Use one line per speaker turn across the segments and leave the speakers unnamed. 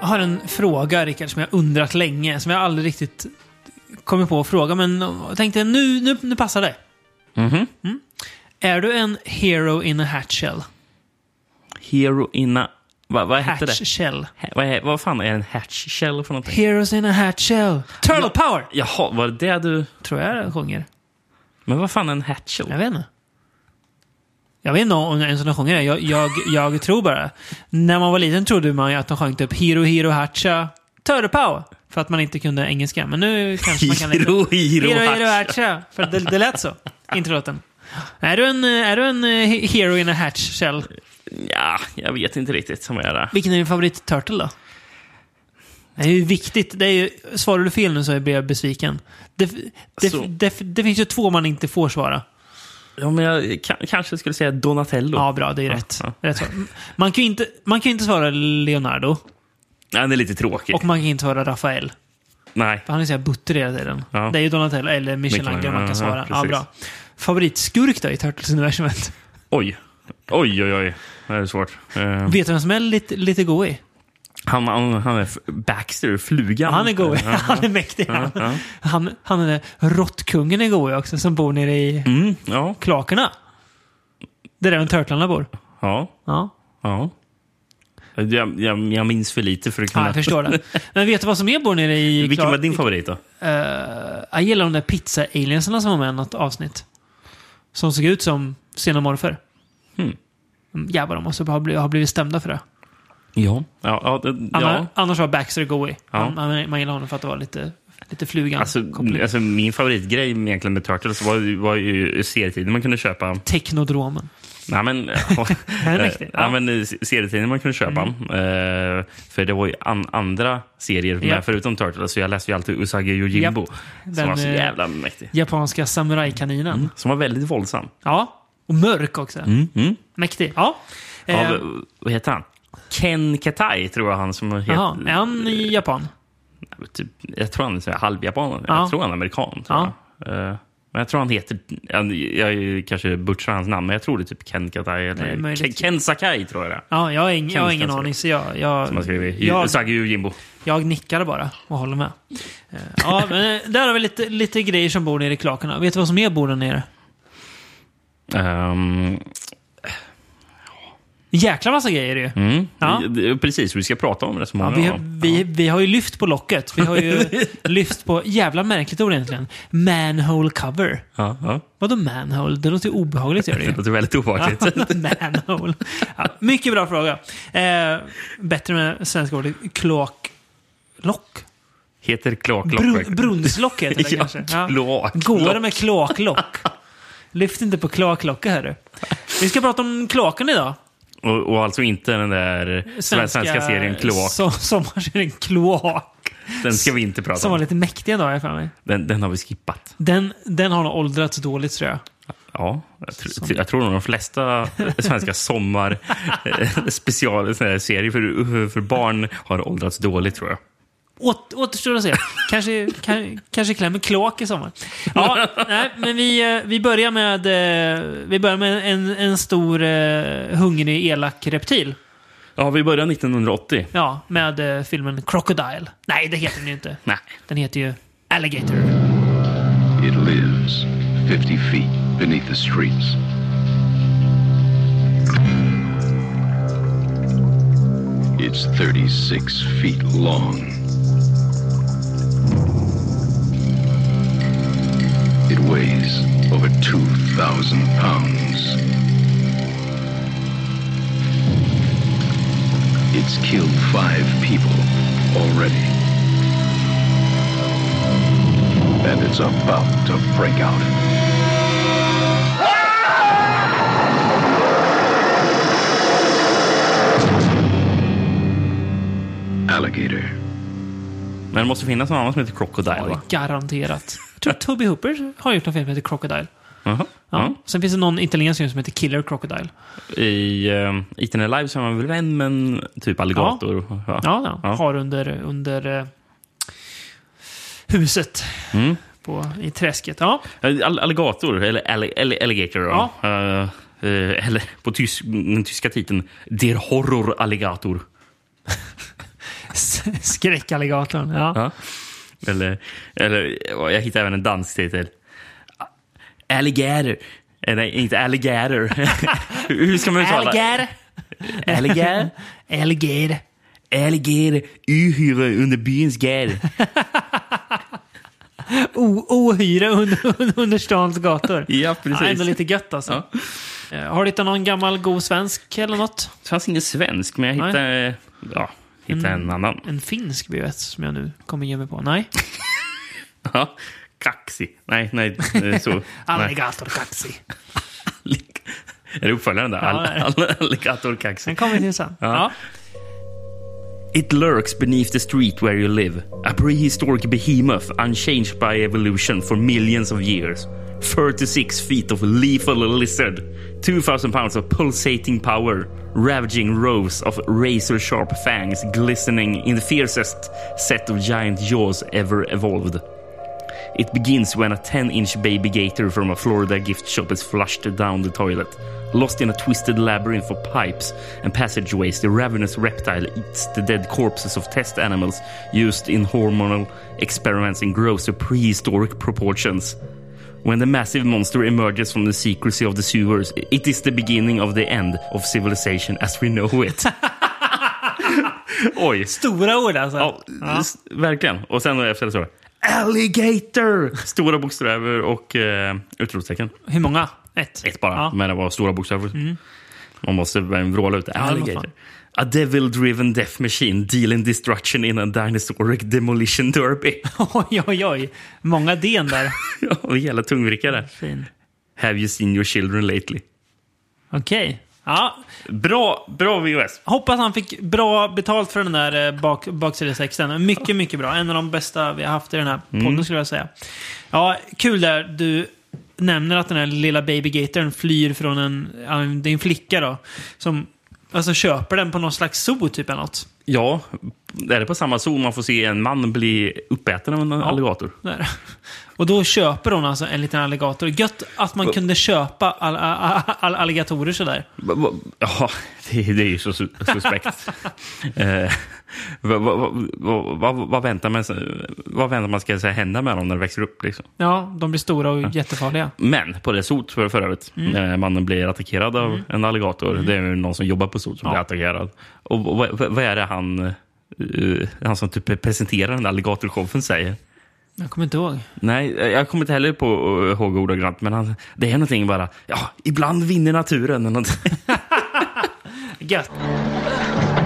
har en fråga, Rickard, som jag undrat länge, som jag aldrig riktigt kommit på att fråga, men jag tänkte nu, nu, nu passar det.
Mhm.
Är du en hero in a hatchell?
Hero in a... Va, vad hette det?
Hatchshell.
Ha- Vad, är, vad fan är en hatch shell för någonting?
Heroes in a hatchell. Turtle power!
Jaha, var det det du...
Tror jag den sjunger.
Men vad fan är en hatch shell?
Jag vet inte. Jag vet inte om jag ens de sjunger det. Jag, jag, jag tror bara. När man var liten trodde man ju att de sjöng typ Hiro Hiro Hacha Turtle Power. För att man inte kunde engelska. Men nu kanske man kan lite.
Hero, hero,
Hiro Hiro
hatch.
Hacha. För det, det lät så. Introlåten. Är du en, eh, är du en eh, he- hero in a hatch, Kjell?
Ja, jag vet inte riktigt som jag är. där.
Vilken är din favorit Turtle då? Det är ju viktigt. Det är ju, svarar du fel nu så blir jag besviken. Det, det,
Så.
det, det finns ju två man inte får svara.
Ja, men jag ka- kanske skulle säga Donatello.
Ja, bra. Det är rätt.
ja.
rätt svar. man, kan ju inte, man kan ju inte svara Leonardo
Nej, det är lite tråkigt.
och man kan inte svara Rafael.
Nej.
För han är så här butter hela tiden.
Ja.
Det är ju Donatello eller Michelangelo
Michelangelo,
man kan
ja,
svara. Ja,
precis.
bra. Favoritskurk då i Turtles-universumet?
Oj. Oj, oj, oj. Det här är svårt. Eh,
Vet du vem som är lite, lite goig?
han, han, han är f- Baxter, flugan.
Han är goig.
Ja,
Han är mäktig. Han,
ja.
han, han är råttkungen är goig också som bor nere i
Mm, ja,
klakerna. Det är där de turtlarna bor.
ja,
Ja,
ja. Jag, jag, jag minns för lite för att
ja
kunna...
jag förstår det. Men vet du vad som är bor nere i...
Vilken
kla-
var din favorit då?
Eh, jag gillar de där pizza-aliensarna som var med i något avsnitt. Som såg ut som xenomorfer.
Hmm.
Mm, Jävlar, de måste ha blivit, ha blivit stämda för det.
Ja. Ja, ja, det-
Anna,
ja.
Annars var Baxter Goey.
Ja.
Han- han- Man gillar honom för att det var lite, lite flugan.
Alltså,
koppling.
alltså, min favoritgrej egentligen med Turtles var, ju- var ju serietidningen man kunde köpa.
Teknodromen.
Nej, men,
är Mm.
Eh,
mäktig.
ja, men, eh, serietidningen man kunde köpa. Eh, för det var ju an, andra serier med,
Japp.
förutom Turtles. Så jag läste ju alltid Usagi Yojimbo.
Den,
Som var så
eh,
jävla mäktig.
Japanska samurajkaninen.
Som var väldigt våldsam.
Ja. Och mörk också.
Mm. Mm.
Mäktig. Ja. Eh,
Av, vad heter han? Ken Katai tror jag han som heter.
jaha. Är han i Japan?
Typ, jag tror han är så här halvjapan.
Ja.
Jag tror han är amerikan. Tror
Ja.
jag. Eh, men jag tror han heter... Jag, jag kanske butchar hans namn, men jag tror det är typ Ken Katai.
Nej,
Eller
möjligt.
Ken, Ken Sakai tror jag det är.
Ja, jag har ingen, jag har ingen
Känns det
aning, så jag, jag,
Som han skriver.
jag,
Usagi Yojimbo.
jag nickar bara och håller med. Eh, Ja, men eh, där har vi lite, lite grejer som bor nere i klakerna. Vet du vad som mer bor där nere?
Ehm,
Jäkla massa grejer ju.
Mm.
Ja.
Det- det- Precis, vi ska prata om det så
Ja,
många
vi,
av dem.
vi, vi har ju lyft på locket. Vi har ju lyft på, jävla märkligt ord egentligen, manhole cover.
Ja, ja.
Vadå manhole? Det låter ju obehagligt gör det ju.
Det låter väldigt obehagligt.
manhole. Ja, mycket bra fråga. Eh, bättre med svenska ordet kloaklock.
Heter kloaklock.
Brun, brunnslock heter det kanske.
Ja,
Ja.
kloak.
Går det med kloaklock? Lyft inte på kloaklocka, hörru. Vi ska prata om kloaken idag.
Och, och alltså inte den där svenska, svenska serien Kloak.
So sommarserien Kloak.
Den ska vi inte prata
Som var
om.
lite mäktig idag, har jag för mig.
Den, den har vi skippat.
Den, den har nog åldrats dåligt, tror jag.
Ja, jag, tr- jag tror nog de flesta svenska sommar eh, special såna här serier för, för barn har åldrats dåligt tror jag.
Åt, återstår att se. Kanske, kan, kanske klämmer kloak i sommar. Ja, nej, men vi, eh, vi börjar med, eh, vi börjar med en, en stor eh, hungrig elak reptil.
Ja, vi börjar 1980.
Ja, med eh, filmen Crocodile. Nej, det heter den ju inte.
Nej.
Den heter ju Alligator.
It lives 50 feet beneath the streets. It's 36 feet long. It weighs over 2,000 pounds. It's killed five people already and it's about to break out. Alligator.
Men det måste finnas någon annan som heter Crocodile
Ja,
va?
Garanterat. Jag tror Toby Hooper har gjort en film som heter Crocodile.
Jaha.
Ja.
Ja.
Sen finns det någon italiensk film som heter Killer Crocodile.
I uh, Eaten Alive så är man väl vän med en typ alligator? Ja.
Ja, ja.
Ja.
Har under, under eh, huset.
Mm.
På, I träsket. Ja.
Eh, All- Alligator, eller alli- alli- alligator. då. Eh, eh, eller på tys- den tyska titeln, Der Horror Alligator.
S- Skräckalligatorn. Ja.
Ja. Eller, eller och jag hittade även en dansk titel. Alligator. Eh, Nej, inte alligator. Hur hur ska man uttala?
Alligator.
Alligator.
Alligator.
Alligator. Uhyra under byns gärd.
O- Ohyra under, under stans gator.
Ja,
Ja,
precis.
ändå lite gött alltså. Eh, Har du hittat någon gammal god svensk eller något?
Det fanns ingen svensk, men jag
Nej.
hittade, ja, hittade en annan.
En finsk blir det som jag nu kommer ge mig på. Nej.
Ja. Kaxi. Nej, nej, eh, så. nej.
Alligator kaxi.
Allig- Är det uppföljaren där?
Ja, det är det.
All- all- Alligator kaxi.
Den kommer vi till sen. Ja.
It lurks beneath the street where you live, a prehistoric behemoth unchanged by evolution for millions of years. 36 feet of lethal lizard, 2,000 pounds of pulsating power, ravaging rows of razor sharp fangs glistening in the fiercest set of giant jaws ever evolved. It begins when a 10 inch baby gator from a Florida gift shop is flushed down the toilet. Lost in a twisted labyrinth of pipes and passageways, the ravenous reptile eats the dead corpses of test animals used in hormonal experiments and grows to prehistoric proportions. When the massive monster emerges from the secrecy of the sewers, it is the beginning of the end of civilization as we know it. Oj,
Stora ord alltså.
Ja, s- verkligen. Och sen efter så. Alligator! Stora bokstäver och eh, utropstecken.
Hur många? Ett?
Ett bara,
Ja.
men det var stora bokstäver. Man måste verkligen vråla ut det.
det måste
Alligator. A devil-driven death machine dealing destruction in a dinosauric demolition derby.
Oj, oj, oj. Många den där.
Ja, och jävla tungvrickare.
Fin.
Have you seen your children lately?
Okej. Ja,
Bra, bra VHS.
hoppas han fick bra betalt för den där eh, bak, baksidestexten. Mycket, mycket bra. En av de bästa vi har haft i den här podden skulle jag säga. Ja, kul där du nämner att den här lilla babygatorn flyr från en, ja, det är en flicka då, som alltså köper den på någon slags zoo typ eller något.
Ja, är det på samma zon man får se en man bli uppäten av en alligator?
Där. Och då köper hon alltså en liten alligator. Gött att man kunde köpa all, all, all, alligatorer sådär.
Va- va- Ja, det, det är ju så su- suspekt. eh, vad, vad, vad, vad, vad, väntar man, vad väntar man ska säga, hända med dem när de växer upp? Liksom?
Ja, de blir stora och jättefarliga.
Men på det sot för, för övrigt, när mannen blir attackerad av en alligator. Det är ju någon som jobbar på sot som
Ja.
blir attackerad. Och, vad- vad, vad är det han, eh, han som typ presenterar den där alligatorshowen säger?
Jag kommer inte ihåg.
Nej, jag kommer inte heller på eh, ihåg ordagrant, men han, det är någonting bara, ja, ibland vinner naturen. eller någonting.
Gött.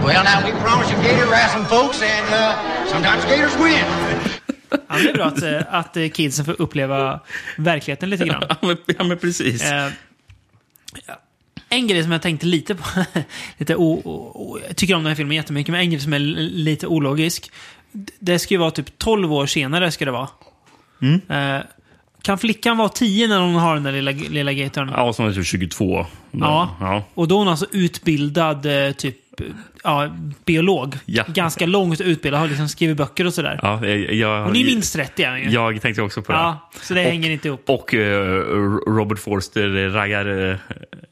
Well, now we promise you gator wrestling, folks, and uh, sometimes gators win.
Ja, det är bra att, eh, att eh, kidsen får uppleva verkligheten lite grann.
ja, men, ja, men precis.
Eh, en grej som jag tänkte lite på, lite o, o, o, jag tycker om den här filmen jättemycket, men en grej som är l- lite ologisk. D- Det ska ju vara typ 12 år senare. Ska det vara.
Mm.
Eh, kan flickan vara 10 när hon har den där lilla, lilla gatorn?
Ja, som är typ 22.
Ja.
ja.
Och då är hon alltså utbildad eh, typ eh, ja, biolog.
Ja.
Ganska långt utbildad, har liksom skrivit böcker och sådär.
ja jag, jag,
Hon är ju minst 30 är hon ju.
Jag tänkte också på det.
Ja, så det hänger inte ihop.
Och eh, Robert Forster raggar uh,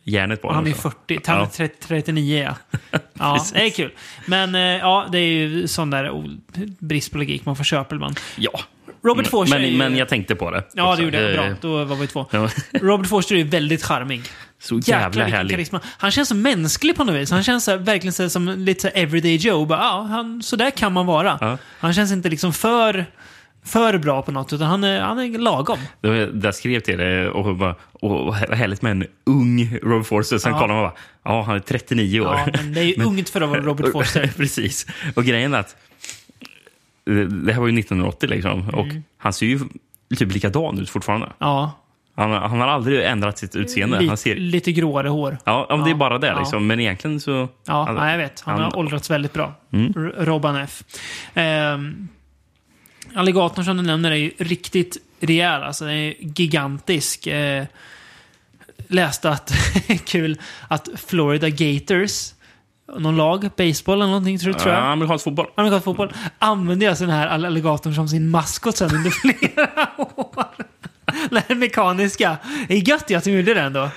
järnet på
Han är
också.
40, han är
Ja.
30, 39 ja. ja det är kul. Men eh, ja, det är ju sån där o- brist på logik man får köpa ibland.
Ja.
Robert Forster är
men,
ju-
men jag tänkte på det.
Ja,
också.
det gjorde jag. Bra,
Eh,
då var vi två.
Ja.
Robert Forster är ju väldigt charmig.
Så
Jäklar
jävla
vilken
härlig.
karisma. Han känns så mänsklig på något vis. Han känns så här, verkligen så här, som lite så här everyday Joe. Bara, ja, han, så där kan man vara.
Ja.
Han känns inte liksom för, för bra på något, utan han är, han är lagom.
Det var- Där skrev till det och bara, åh, vad hä- härligt med en ung Robert Forster. Sen
Ja.
kollar man bara, ja, han är 39 år.
Ja, men det är ju ungt för att vara Robert Forster.
Precis. Och grejen är att det- det här var ju 1980 liksom. Och
Mm.
han ser ju typ likadan ut fortfarande.
Ja,
Han, han har aldrig ändrat sitt utseende. Han
lite,
ser,
lite gråare hår.
ja, om det är
Ja,
bara det.
ja.
Liksom. Men egentligen så...
Ja,
han-
nej, jag vet. Han,
han-
har åldrats väldigt bra.
Mm.
R- Robban F. Ehm, alligatorn som du nämner är ju riktigt rejäl. Alltså, den är gigantisk. Eh, läste att, kul, att Florida Gators, någon lag, baseball eller någonting tror, tror jag.
Ja, amerikansk fotboll.
Amerikansk fotboll använde alltså den här all- alligatorn som sin maskot sen under flera år. Den här mekaniska. Det är gött ju att de gjorde det ändå.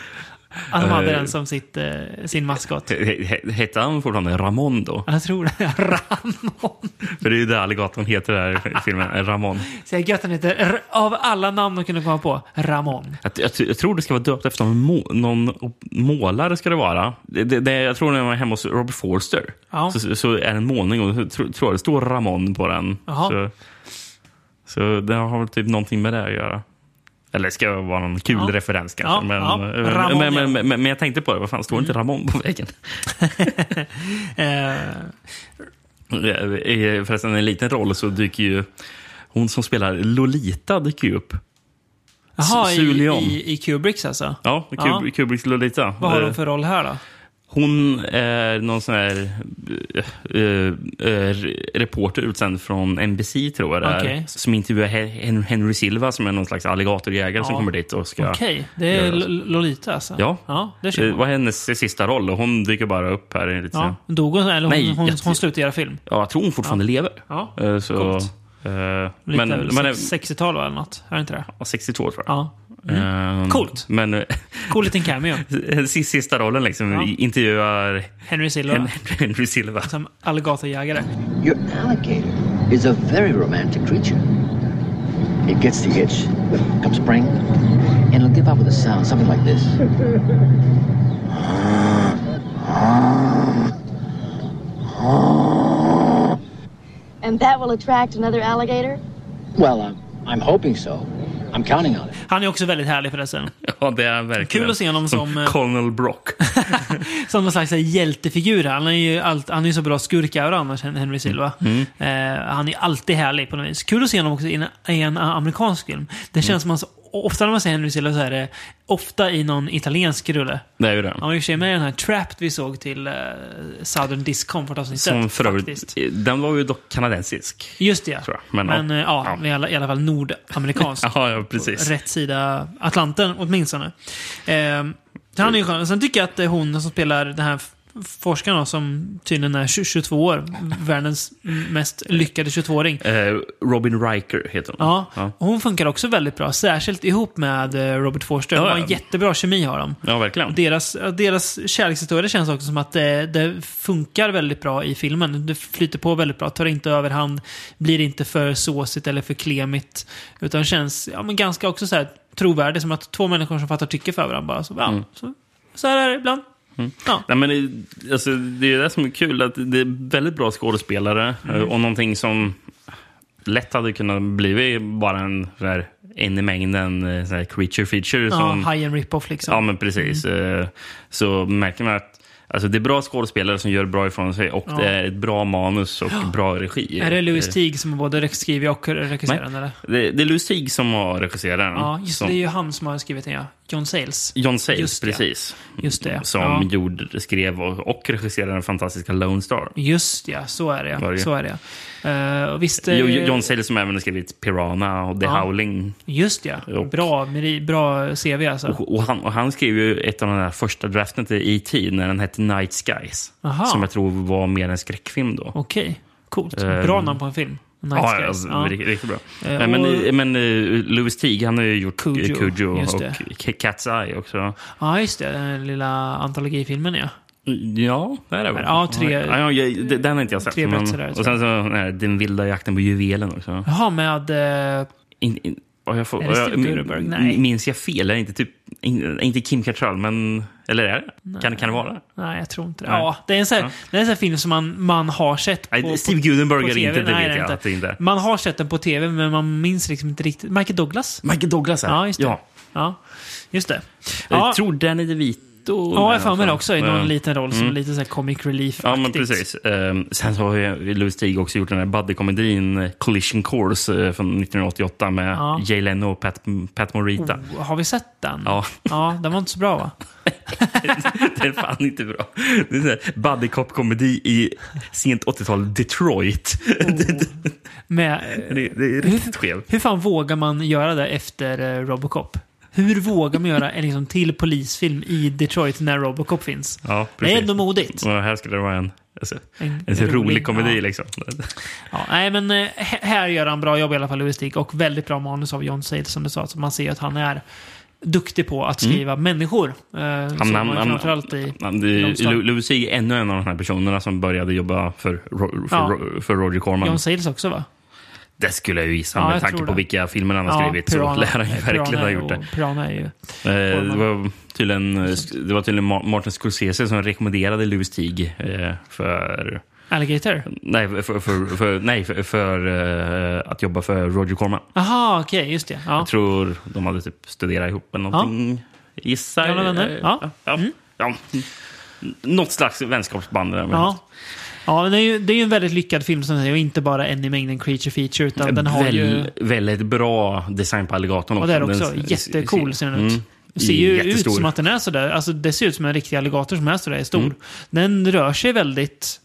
Att de hade
Eh.
den som sitt, eh, sin maskot.
He- he- Hette han fortfarande Ramon då?
Jag tror det. Ramon.
För det är ju det alligatorn heter där i filmen, Ramon.
Så jag gött han heter. R- Av alla namn de kunde komma på. Ramon.
Jag, jag, jag tror det ska vara döpt efter någon, må, någon op- målare. ska det vara. Det, det, det, jag tror när jag var hemma hos Robert Forster
Ja.
så, så är det en målning och så tror, tror jag det står Ramon på den.
Jaha.
Så, så det har väl typ någonting med det att göra. Eller ska det vara någon kul
Ja.
referens kanske.
Ja,
men,
ja.
men-
Ramon,
men,
ja. Mm.
men, men, men jag tänkte på det, vad fan står inte Ramon på väggen?
Eh,
Eh, eh, Förresten, en liten roll så dyker ju hon som spelar Lolita dyker ju upp.
Jaha, i,
Suleon.
i, i Kubricks alltså.
Ja, Kub
Ja.
Kubricks Lolita.
Vad har
Eh,
de för roll här då?
Hon är någon sån här eh, eh, eh, reporter utsänd från NBC, tror jag det är.
Okej.
Som intervjuar Hen- Henry Silva, som är någon slags alligatorjägare som
Ja.
kommer dit och ska...
Okej, det är
Ja, alltså.
L- Lolita alltså?
Ja.
ja det
Det
ser man.
var hennes sista roll och hon dyker bara upp här. i Lite
Ja. Dog hon? Eller hon,
Nej,
hon, hon,
jag-
slutade göra film?
ja, jag tror hon fortfarande lever.
Ja.
Eh, Så,
Coolt.
eh,
Lite
men,
men,
men,
60-tal va, eller något? Är det inte det?
ja, 62 tror jag.
Ja. Mm.
Eh,
Coolt.
Men
Cool liten cameo.
sista, sista rollen liksom,
Ja.
intervjuar
Henry Silva.
Hen- Henry Silva.
Som alligatorjägare.
Your alligator is a very romantic creature. It gets the itch come spring, and it'll give out with a sound something like this.
And that will attract another alligator?
Well, I'm, I'm hoping so. I'm counting on it.
Han är också väldigt härlig förresten.
Ja, det är verkligen.
Kul att se honom som, eh,
Colonel Brock.
Som någon slags så här hjältefigur. här. Han är ju allt, han är ju så bra skurkaura annars, Hen- Henry Silva.
Mm.
Eh, han är alltid härlig på något vis. Kul att se honom också i en, i en amerikansk film. Det känns som att han så- ofta när man ser Henry Silva så är det ofta i någon italiensk rulle.
Det är ju det.
Han var ju i och för sig med i den här Trapped vi såg till eh, Southern
Som
Discomfort-avsnittet.
för övrigt,
faktiskt.
den var ju dock kanadensisk.
Just det,
tror jag. Men,
Men,
ja.
eh, ja, i alla, i alla fall nordamerikansk.
Ja, ja precis.
rätt sida Atlanten åtminstone. Eh, så han är ju skön. Sen tycker jag att eh, hon som spelar den här f- forskaren då, som tydligen är 20 22 år, världens mest lyckade 22-åring.
Eh, Robin Riker heter hon.
Ja,
ja.
och hon funkar också väldigt bra, särskilt ihop med eh, Robert Forster. De
Ja,
har
ja.
en jättebra kemi har de.
Ja, verkligen.
Deras, deras kärlekshistoria känns också som att det, det funkar väldigt bra i filmen. Det flyter på väldigt bra, tar inte överhand, blir inte för såsigt eller för klemigt. Utan känns ja, men ganska också så här trovärdig, som att två människor som fattar tycke för varandra bara. Så, ja,
Mm.
så, så här är det ibland. Ja.
Nej, men det, alltså, det är ju det som är kul, att det är väldigt bra skådespelare eh, och någonting som lätt hade kunnat bli bara en, sån här, en i mängden eh, sån här creature feature.
Ja,
som,
high and rip-off liksom.
Ja, men precis. Eh, Så märker man att alltså, det är bra skådespelare som gör bra ifrån sig och det är ett bra manus och bra regi.
är det Louis
Eh,
Teague som både skriver och
Nej,
regisserar den? Eller?
det, det är Louis Teague som har regisserat den.
Ja, just det.
som,
Det är ju han som har skrivit den, ja. John Sayles.
John Sayles,
Just det.
precis.
Just det.
Som
ja.
gjorde, skrev och, och regisserade den fantastiska Lone Star.
Just ja, så är
Var
det.
det
ja.
ju.
Så är det. ja. Eh, och visst, eh,
Jo, John Sayles som även har skrivit Piranha och The
Ja.
Howling.
Just ja.
Och-
Bra, meri- bra CV alltså.
Och, och, han, och han skrev ju ett av de där första draften till E.T. när den hette Night Skies.
Aha.
Som jag tror var mer en skräckfilm då.
Okej, coolt.
Eh,
Bra namn på en film. Nice
ja,
guys.
alltså,
ja.
Riktigt, riktigt bra.
Eh,
Nej, men
och-
eh, men eh, Louis Teague, han har ju gjort
Cujo,
Cujo, Cujo
just det.
och K- Cat's Eye också.
ja, just det. Den lilla antologifilmen ja.
Ja, det är det väl.
Ja, tre-
Ja, ja, jag- det- den har inte jag sett.
tre
men,
platser där,
och sen så den, här, den vilda jakten på juvelen också.
Jaha, med... Eh,
In, in, och jag får,
Är det
jag,
Steve Gutenberg? Nej.
Minns jag fel? Är det inte, typ, in, inte Kim Cattrall, men... Eller är det? Kan, kan det vara det?
nej, jag tror inte det.
Nej.
Ja, det är en sån här,
Ja.
det är en sån här film som man, man har sett på...
Nej,
på
Steve Gutenberg
på
är det inte,
TV.
det
Nej,
vet
det är
jag att det inte är.
man har sett den på tv, men man minns liksom inte riktigt. Michael Douglas?
Michael Douglas är
Ja, just det.
Ja.
Ja, just det.
Jag
Ja,
tror Danny DeVito...
ja jag har för mig det också i någon
Ja. Mm.
liten roll som lite så här comic relief
Ja, men precis. Ehm, sen så har ju Louis Teague också gjort den här buddy-komedin eh, Collision Course eh, från 1988 med
Ja.
Jay Leno och Pat, Pat Morita.
Oh, har vi sett den?
Ja.
Ja, den var inte så bra va?
Det är fan inte bra. Det är sån här buddy cop-komedi i sent 80-tal Detroit.
Med, eh,
Det, det är riktigt skev.
hur fan vågar man göra det efter eh, Robocop? Hur vågar man göra en liksom, till polisfilm i Detroit när Robocop finns?
Ja,
det
precis.
är ändå modigt.
Ja, här skulle det vara en, alltså,
En-
en,
en
rolig,
rolig,
komedi
ja.
liksom.
Ja, nej, men eh, här gör han bra jobb i alla fall, Louis Dick, och väldigt bra manus av John Sayles som du sa, så man ser att han är duktig på att skriva människor. Eh, så
Mm. han-
man
han-
framförallt i...
Han- det-
de stan-
Lu- Lucy är ännu en av de här personerna som började jobba för, Ro- för,
Ja.
Ro- för Roger Corman.
John Sayles också va?
Det skulle jag ju gissa
Ja,
med
jag
tanke
tror
på
det.
vilka filmer han har skrivit. så lär han ju verkligen ha gjort det.
och- Piranha är ju...
Eh,
Corman.
det, var tydligen, eh, sk- det var tydligen Ma- Martin Scorsese som rekommenderade Louis Stig eh, för...
Alligator?
Nej, för, för, för, för, nej, för, för eh, att jobba för Roger Corman.
Aha, okej, just det. Ja.
Jag tror de hade typ studerat ihop eller någonting. Gissar
Gamla vänner. Ja. Mm.
Ja. Ja. Något slags vänskapsband. Där, men-
Ja. Ja, men det är, ju, det är ju en väldigt lyckad film som säger, och inte bara en i mängden creature feature utan den har
Väl,
ju...
Väldigt bra design på alligatorn.
Och det är också.
Den-
Jättecool ser den ut.
Mm.
Det ser ju
Jättestor.
ut som att den är sådär. Alltså det ser ut som en riktig alligator som är sådär stor.
Mm.
Den rör sig väldigt,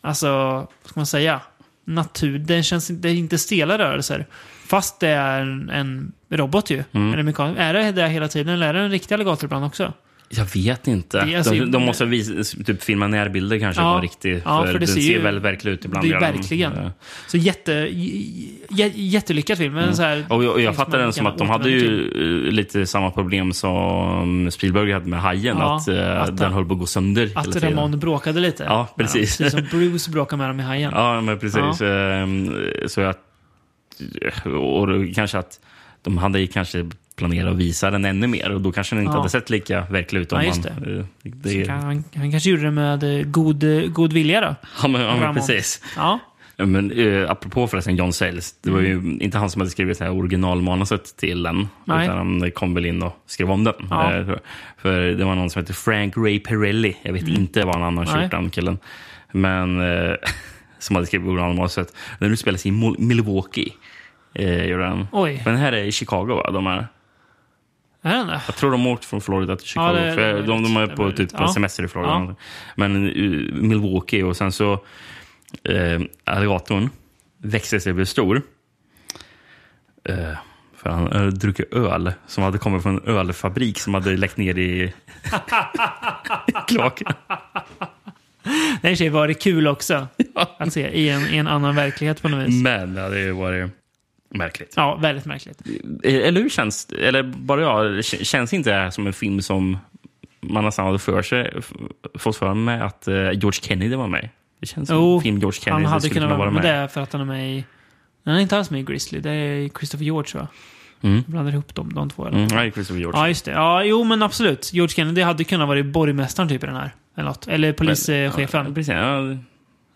alltså, vad ska man säga? Natur. Den känns inte- det är inte stela rörelser. Fast det är en, en robot ju.
Mm.
En mekan- är det det hela tiden eller är det en riktig alligator ibland också?
Jag vet inte.
Det är alltså-
de, de måste visa, typ filma närbilder kanske
Ja.
på riktigt.
Ja, för det
den
ser
ser,
ju-
väldigt verklig ut ibland.
det är ju
gör den.
verkligen.
Ja. Mm.
Så jätte, j- j- jättelyckad film. Men så här,
Och jag, och
film
jag fattar
man
den som
kan
att de hade
återvända till.
ju eh, lite samma problem som Spielberg hade med Hajen.
Ja,
att, eh,
att-
den höll på att gå sönder hela
Att
tiden.
Ramon bråkade lite.
Ja, precis.
precis som Bruce bråkade med dem i Hajen.
Ja, men precis. Ehm, Så jag, och då kanske att de hade ju kanske planerat att visa den ännu mer och då kanske den inte
Ja.
hade sett lika verklig ut. Om
Ja, just
man,
det.
eh,
Så
det
kan, han, han kanske gjorde det med eh, god, eh, god vilja då.
ja, men, ja, men
Ramon.
precis.
Ja,
Men eh, apropå förresten John Sayles, det var ju inte han som hade skrivit det här originalmanuset till den.
Mm. Nej.
Utan han kom väl in och skrev om den.
Ja.
Eh, för- För det var någon som hette Frank Ray Perelli. Jag vet inte vad han annars
Mm. Nej.
gjort den killen. Men eh, som hade skrivit originalmanuset. Den utspelar sig i Mil- Milwaukee. Eh, gjorde den.
Oj.
Men den här är i Chicago va? De här.
är den det?
Jag tror de har åkt från Florida till Chicago.
det- det är
för
möjligt.
de, de är
Det är
på
möjligt.
typ en
Ja.
semester i Florida.
Ja.
eller någonting. Men eh, Milwaukee och sen så... Eh, alligatorn växer sig bli stor. Eh, för han hade druckit öl som hade kommit från en ölfabrik som hade läckt ner i kloaken.
Nej, i och för sig var det kul också. Att se i en, i en annan verklighet på något vis.
Men det hade ju varit märkligt.
Ja, väldigt märkligt.
Eh, Eller hur känns Eller bara jag, k- känns inte det här som en film som man nästan hade för sig, f- fått för mig att eh, George Kennedy var med? Det känns som en
Jo,
film George Kennedy
han hade
skulle
kunnat vara med.
med.
Det är för att han är med i... Han är inte alls med i Grizzly. Det är Christopher George va?
Mm.
Jag blandar ihop dem, de två. Eller?
Mm, nej, Christopher George.
Ja, just det. Ja, jo, men absolut. George Kennedy hade kunnat vara borgmästaren typ i den här. Eller, något. eller
Ja,
polischefen.
precis. Ja,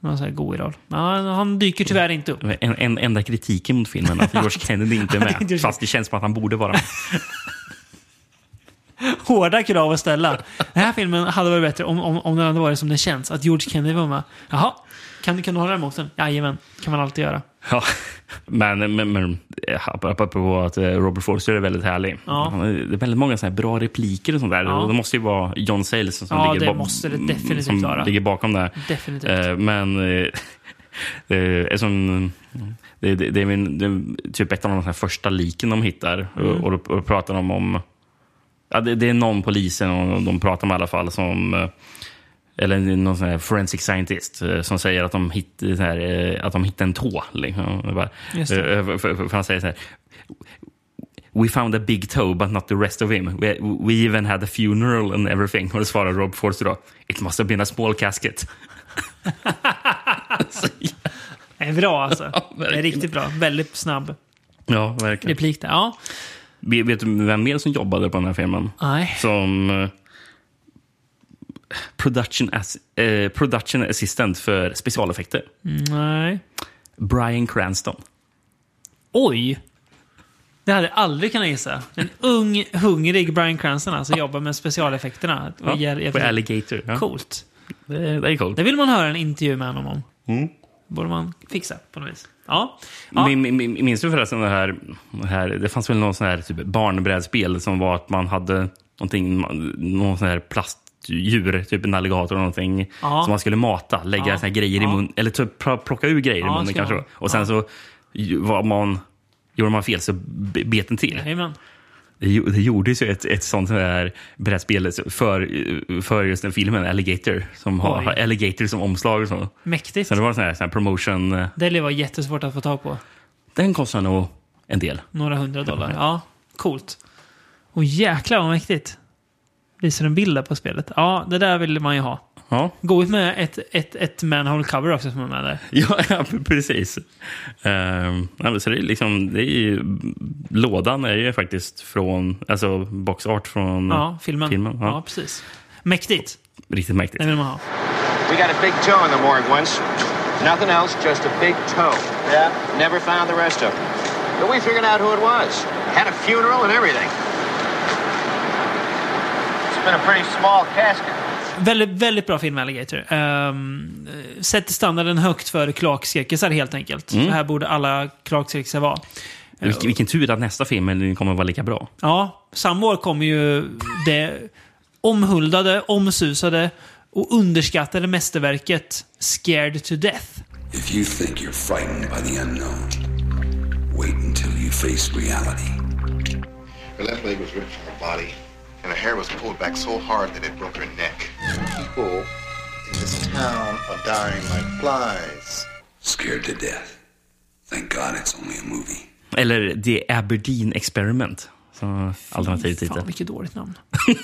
Någon sån här god roll. Ja, han dyker tyvärr inte upp.
en, en, enda kritiken mot filmen är att George Kennedy inte är
Det är inte
med.
George-
Fast det känns som att han borde vara med.
hårda krav att ställa. Den här filmen hade varit bättre om, om, om den hade varit som den känns. Att George Kennedy var med. Jaha, kan, du- kan du hålla emot den? Jajamän, kan man alltid göra.
Ja. Men, men, men eh, apropå att eh, Robert Forster är väldigt härlig.
Ja.
Han har- Det är väldigt många så här bra repliker och sånt där.
Ja.
Och Det måste ju vara John Sayles som,
Ja,
ligger,
det
ba-
måste det definitivt
som
vara.
ligger bakom det här.
Definitivt.
Eh, Men eh, det är som... Det, det, det, är min, det är typ ett av de här första liken de hittar.
Mm.
Och, och, då- och då pratar de om... Ja, det, det är någon polisen och de pratar med i alla fall som... eh, Eller någon sån här forensic scientist eh, som säger att de, hitt, så här, eh, att de hittar en tå. Liksom. Och Bara,
Just det.
eh, för, för, för han säger så här... We found a big toe but not the rest of him. We, we even had a funeral and everything. Och då svarar Rob Forster då. It must have been a small casket.
Det är bra alltså. Det är
verkligen.
riktigt bra. Väldigt snabb
Ja, verkligen.
replik där. Ja.
Vet, vet du vem mer som jobbade på den här filmen?
Nej.
Som eh, production, ass, eh, production assistant för specialeffekter.
Nej.
Brian Cranston.
Oj! Det hade jag aldrig kunnat gissa. En ung, hungrig Brian Cranston alltså jobbar med specialeffekterna. Och ger- ger-
på Alligator. Ja.
Coolt.
Det, det är coolt. Mm.
Det vill man höra en intervju med honom om. borde man fixa på något vis. Ja. ja.
Min- min- min- Minns du förresten det här, det här... Det fanns väl någon sån här typ barnbrädspel som var att man hade någonting, någon sån här plastdjur, typ en alligator eller någonting,
Ja.
som man skulle mata. Lägga
Ja.
såna här grejer i
Ja.
mun eller typ pl- plocka ur grejer
Ja,
i munnen
ska
kanske.
man.
Och sen så ju- var man, gjorde man fel så b- bet den till.
Jajamän.
Det gjo- det gjordes ju ett, ett sånt här brädspel för, för just den filmen, Alligator, som har,
Oj.
har Alligator som omslag och så.
Mäktigt.
Sen det var sån här, sån här promotion. eh,
Det lär vara jättesvårt att få tag på.
Den kostar nog en del.
Några hundra dollar. Ja, coolt. Och jäklar vad mäktigt. Visar en bild där på spelet. Ja, det där vill man ju ha.
Ja,
Gå ut med ett, ett, ett manhole cover också som är med där.
ja, ja precis. Ehm, ja, men så det är liksom, det är ju, lådan är ju faktiskt från, alltså box art från
Ja, filmen.
filmen,
ja.
ja.
precis. Mäktigt.
riktigt mäktigt.
Det vill man ha.
We got a big toe in the morgue once. Nothing else, just a big toe. Yeah? Never found the rest of it. But we figured out who it was. Had a funeral and everything. It's been a pretty small casket.
Väldigt, väldigt bra film, Alligator. Um, sätter standarden högt för kloakcirkusar helt enkelt. Så här borde alla kloakcirkusar vara.
Vilken, vilken tur att nästa film kommer att vara lika bra.
Ja, samma år kommer ju det omhuldade, omsusade och underskattade mästerverket Scared to Death.
If you think you're frightened by the unknown, wait until you face reality.
Her left leg was ripped from her body, and her hair was pulled back so hard that it broke her neck. People in this town are dying like flies.
Scared to death. Thank God it's only a movie.
Eller The Aberdeen Experiment. Som alternativ titel.
Fan, vilket dåligt namn.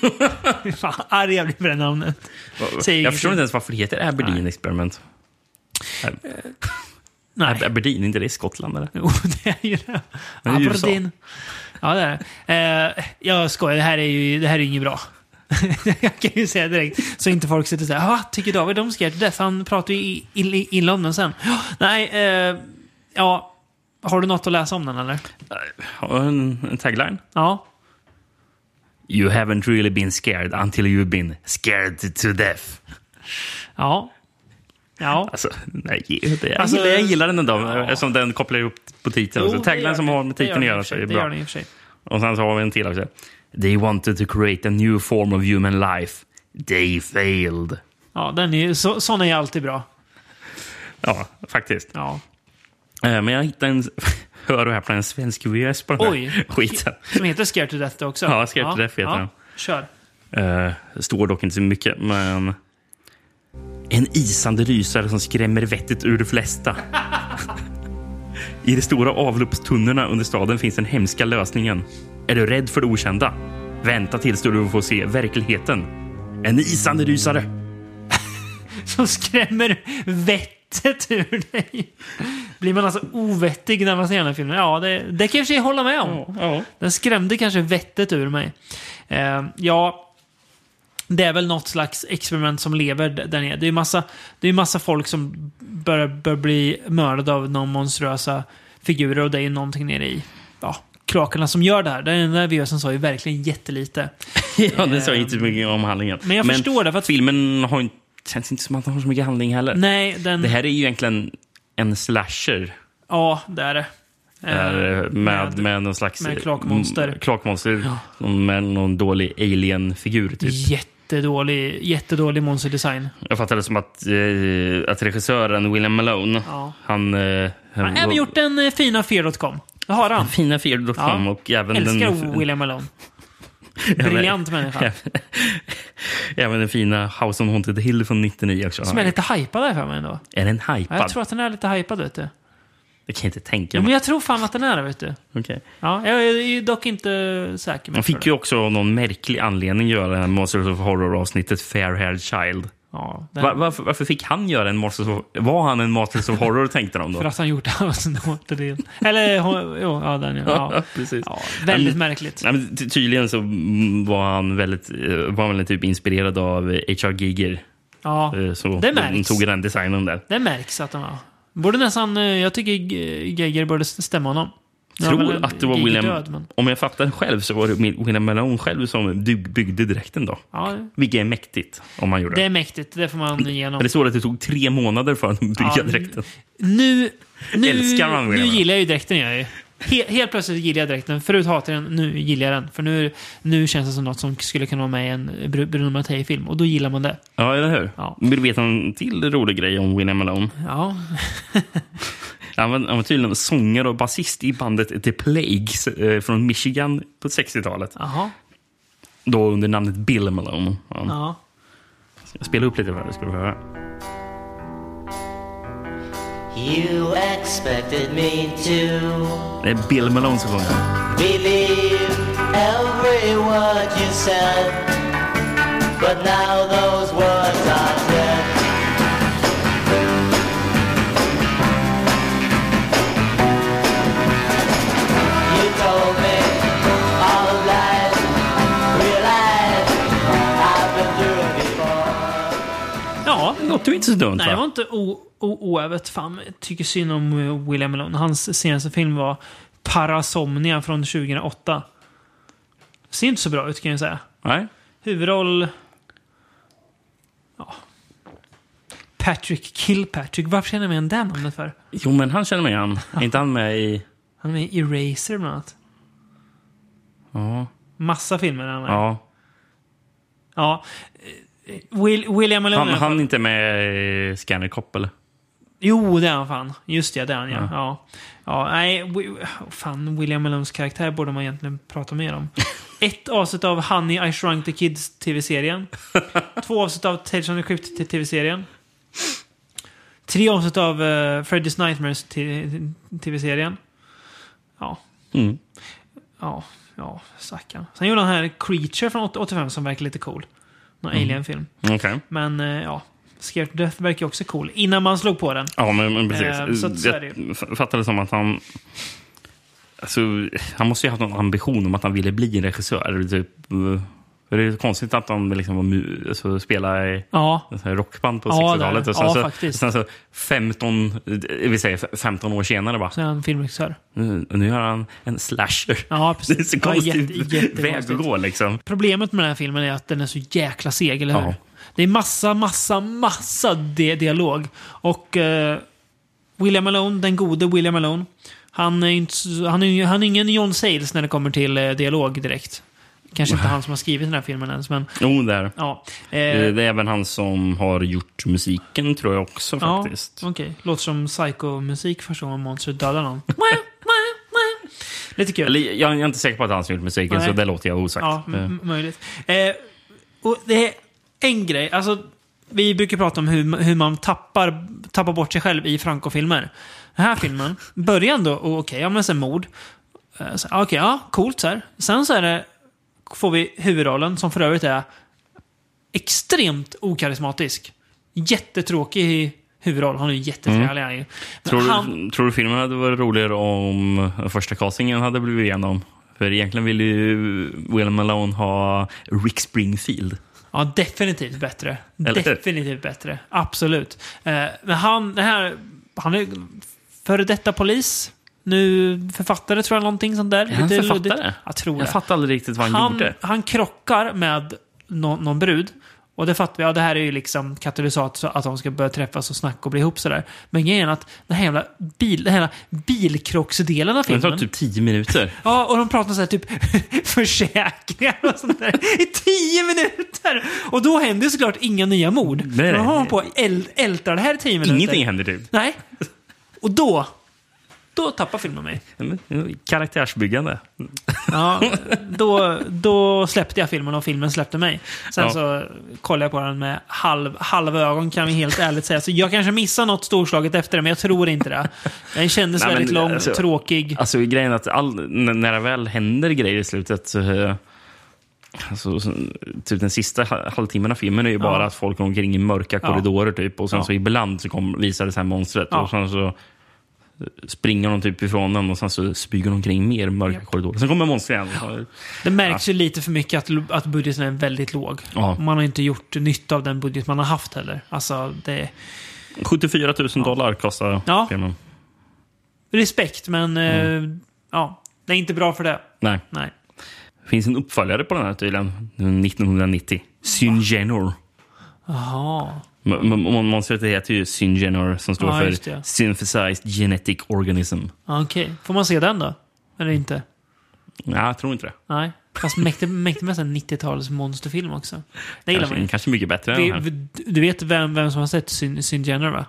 Fy fan, arg jag blir för det namnet. Säger
Jag förstår
ingenting.
inte ens varför det heter Aberdeen Experiment.
Nej.
Ab- Aberdeen, inte det i Skottland eller?
Jo, det är ju det.
Men det är ju
Aberdeen. Ja, det är det. eh, Jag skojar, det här är ju det här är inget bra. jag kan ju säga direkt, så inte folk sitter och säger ah, tycker David de ska göra det? För han pratar ju i- i- illa om den sen. Ja, Nej, eh, ja. Har du något att läsa om den eller?
Har En, en tagline?
Ja.
You haven't really been scared until you've been scared to death.
Ja. Ja.
Alltså, nej, det,
Alltså,
jag, gillar, jag gillar den ändå,
ja.
eftersom den kopplar ihop på titeln.
Jo,
också.
det
Taglinen
gör
som
den.
har med
Det gör
titeln att
den i
göra
och för
så
sig.
är det
Det
bra.
gör den i och för sig.
Och sen så har vi en till också. They wanted to create a new form of human life. They failed.
Ja, den är, ju- så, sån är ju alltid bra.
Ja, faktiskt.
Ja.
Eh, Men jag hittade en, hör och häpna, en svensk VHS på den här
Oj.
skiten.
Som heter Scared to Death det också.
Ja, Scared to Death heter den.
Kör.
Eh, står dock inte så mycket, men... En isande rysare som skrämmer vettet ur de flesta. I de stora avloppstunnorna under staden finns den hemska lösningen. Är du rädd för det okända? Vänta tills du får se verkligheten. En isande rysare.
som skrämmer vettet ur dig. Blir man alltså ovettig när man ser den här filmen? Ja, det, det kan jag i och för sig hålla med om. Den skrämde kanske vettet ur mig. Eh, ja, det är väl något slags experiment som lever d- där nere. Det är ju massa, det är ju massa folk som börjar, börjar bli mördade av någon monstruösa figurer och det är ju någonting nere i ja, kloakerna som gör det här. Den där VHSen sa ju verkligen jättelite.
Ja, det sa inte så mycket om handlingen.
Men jag förstår det, för att-
filmen har inte, känns inte som att den har så mycket handling heller.
Nej, den...
Det här är ju egentligen en slasher.
Ja, det är det. Eh,
Är med, med någon slags...
med kloakmonster.
m- Kloakmonster. Med någon dålig alien-figur, typ. Mm.
Jättedålig, jättedålig monsterdesign.
Jag fattar det som att, eh, att regissören William Malone,
Ja.
han... Eh,
Han har även gjort den eh, fina Fear.com. Det har han.
Fina fel
Ja.
och även
Älskar
den...
William Malone. Briljant människa.
Även den fina House on Haunted Hill från 99 också.
Som är lite hypad här för mig ändå.
Är den
Ja,
hypad?
jag tror att den är lite hypad vet du.
Det kan jag inte tänka
Ja, men
mig.
jag tror fan att den är det vet du.
Okej.
Ja, jag är ju dock inte säker.
Man
Men
fick ju också av någon märklig anledning göra det här Monsters of Horror-avsnittet Fair Haired Child.
Ja, den,
Var, varför, varför fick han göra en Monsters of... Var han en Monsters of Horror tänkte de då?
För att han gjort House and Water Deal. Eller hon- jo, ja, den ja. ja.
precis.
ja väldigt
Men-
märkligt.
Nej, men ty- tydligen så mm, var han väldigt, eh, var han väldigt typ inspirerad av eh, H.R. Giger.
Ja,
Eh, Så
det
de
märks.
tog den designen där.
Det märks att han var. Borde nästan, eh, jag tycker G- Geiger borde stämma honom. Nu har väl
Tror
en-
att det var
Geiger
William...
död, men-
Om jag fattar själv så var det Mil- William Malone själv som du- byggde dräkten då.
Ja,
Vilket är mäktigt om man gjorde
det
det.
är mäktigt. Det får man
Men
igenom.
det står att det tog tre månader för honom att bygga
Ja,
dräkten.
Nu, nu,
Älskar man
nu
William.
gillar jag ju dräkten. Jag ju. He, helt plötsligt gillar jag dräkten. Förut hatade jag den, nu gillar jag den. För nu, nu känns det som något som skulle kunna vara med i en Bru- Bruno Mattei-film. Och då gillar man det.
Ja, eller hur?
Ja.
Vill du veta en till rolig grej om William Malone?
Ja,
Han var, han var tydligen sångare och basist i bandet The Plagues eh, från Michigan på 60-talet.
jaha.
Då under namnet Bill Malone. Ja.
Ja.
Jag spelar upp lite för dig ska du få höra.
You expected me to
Det är Bill Malone som sjunger.
believe every worry what you said, but now those words are dead. You told me all the lies, realize I've been through it before.
Ja,
Det låter ju inte så dumt
Nej, det var
va?
inte o- o- oävet. Fan, jag tycker synd om eh, William Malone. Hans senaste film var Parasomnia från 2008. Ser inte så bra ut kan jag säga.
Nej.
Huvudroll... Ja. Patrick Kilpatrick. Varför känner jag igen det namnet för?
Jo, men han känner mig igen. Är inte han med i...
Han är med i Eraser bland annat.
Ja.
Massa filmer är han med.
ja.
ja. Eh, Will, William Malone.
Han, han är inte med i Scanner Cop eller?
Jo, det är han fan. Just det, det är han ja. ja. ja nej, wi- fan, William Malones karaktär borde man egentligen prata mer om. Ett avsnitt av Honey I Shrunk the Kids TV-serien. Två avsnitt av Tales of the Crypt till TV-serien. Tre avsnitt av eh, Freddy's Nightmares till TV-serien. Ja.
Mm.
Ja, ja, stackarn. Sen gjorde han den här Creature från 80- 85 som verkar lite cool. Någon alien-film.
Okej.
Men eh, ja, Scared to Death verkar också cool. Innan man slog på den.
Ja, men, men
Eh,
precis.
så att så är det ju.
jag f- fattade som att han... Alltså, han måste ju ha haft någon ambition om att han ville bli en regissör. Typ. För Det är ju konstigt att han liksom var mu- alltså, spelade i
Ja,
en sån här rockband på
Ja, det är
60-talet.
det.
Och sen,
Ja,
så,
faktiskt.
sen så 15, eh, vi säger f- 15 år senare bara,
Så är han filmregissör.
nu, nu gör han en slasher.
Ja,
Det är så
Ja,
konstig
jätte- jättekonstigt.
väg att gå liksom.
Problemet med den här filmen är att den är så jäkla seg, eller hur?
Ja.
Det är massa, massa, massa di- dialog. Och eh, William Malone, den gode William Malone, han är, inte, så- han, är, han är ingen John Sayles när det kommer till eh, dialog direkt. Kanske inte han som har skrivit den här filmen ens, men
Jo, där.
ja. Eh,
Eh, Det är även han som har gjort musiken tror jag också
ja,
faktiskt.
Okej, låter som psycho-musik första gången monster dödar någon. Lite kul.
Eller, jag jag är inte säker på att han har gjort musiken,
Nej.
så det låter jag osagt.
Ja, mm, m-
Eh.
m- möjligt. Eh, och det är en grej. Alltså, vi brukar prata om hur, hur man tappar, tappar bort sig själv i Franco-filmer. Den här filmen börjar ändå, och okej, ja men sen mord. Eh, så- Okej, ja, coolt så här. Sen så är det, får vi huvudrollen, som för övrigt är extremt okarismatisk. Jättetråkig huvudroll. Han är ju jättetrevlig. han är ju. Men
Mm. Tror,
han-
du, tror du filmen hade varit roligare om första castingen hade blivit igenom? För egentligen ville ju William Malone ha Rick Springfield.
Ja, definitivt bättre.
Eller hur?
Definitivt bättre. Absolut. Eh, men han, det här, han är före detta polis. Nu författare tror jag någonting sånt där. Är
han författare?
Jag tror
Jag
det.
fattar aldrig riktigt vad han,
Han,
gjorde.
han krockar med nå- någon brud. Och det fattar vi, ja det här är ju liksom katalysat så att de ska börja träffas och snacka och bli ihop sådär. Men grejen är att den här jävla, bil, den här jävla bilkrocksdelen av
Det
filmen.
tar typ tio minuter.
Ja, och de pratar så här typ försäkringar och sånt där i tio minuter. Och då händer ju såklart inga nya mord.
Nej.
Men då har man på och äl- ältar det här i tio minuter.
Ingenting händer typ.
Nej. Och då, då tappar filmen mig.
Karaktärsbyggande.
Ja, då, då släppte jag filmen och filmen släppte mig. Sen
Ja.
så kollade jag på den med halv, halva ögon kan vi helt ärligt säga. Så jag kanske missar något storslaget efter det, men jag tror inte det. Den kändes
Nej, men,
väldigt lång,
alltså-
tråkig.
Alltså grejen är att all, n- när det väl händer grejer i slutet så... eh, Alltså, så- typ den sista ha- halvtimmen av filmen är ju bara att folk går omkring i mörka
Ja.
korridorer typ. Och sen
Ja.
så ibland så kom, visar det sig här monstret.
Ja.
Och sen så springer de typ ifrån den och sen så smyger de omkring mer mörka korridorer. Sen kommer monstret igen. Ja.
Det märks ju lite för mycket att, att budgeten är väldigt låg.
Ja.
Man har inte gjort nytta av den budget man har haft heller. Alltså, det...
74 000 dollar kostar
Ja.
filmen.
Respekt, men...
Mm.
Eh, ja, det är inte bra för det.
Nej.
Nej.
Det finns en uppföljare på den här tydligen. 1990. Syngenor.
Jaha.
M- m- m- Monstret heter ju Syngenor som står
Ja, just
för
det.
Synthesized Genetic Organism.
Okej. Får man se den då? Eller inte?
Nej, jag tror inte det.
Nej. Fast mäktig, mäktig med en 90-tals monsterfilm också. Det gillar man
Kanske,
ju.
kanske mycket bättre än den
Vi- vi- Du vet vem, vem som har sett Syn, Syn Jenner, va?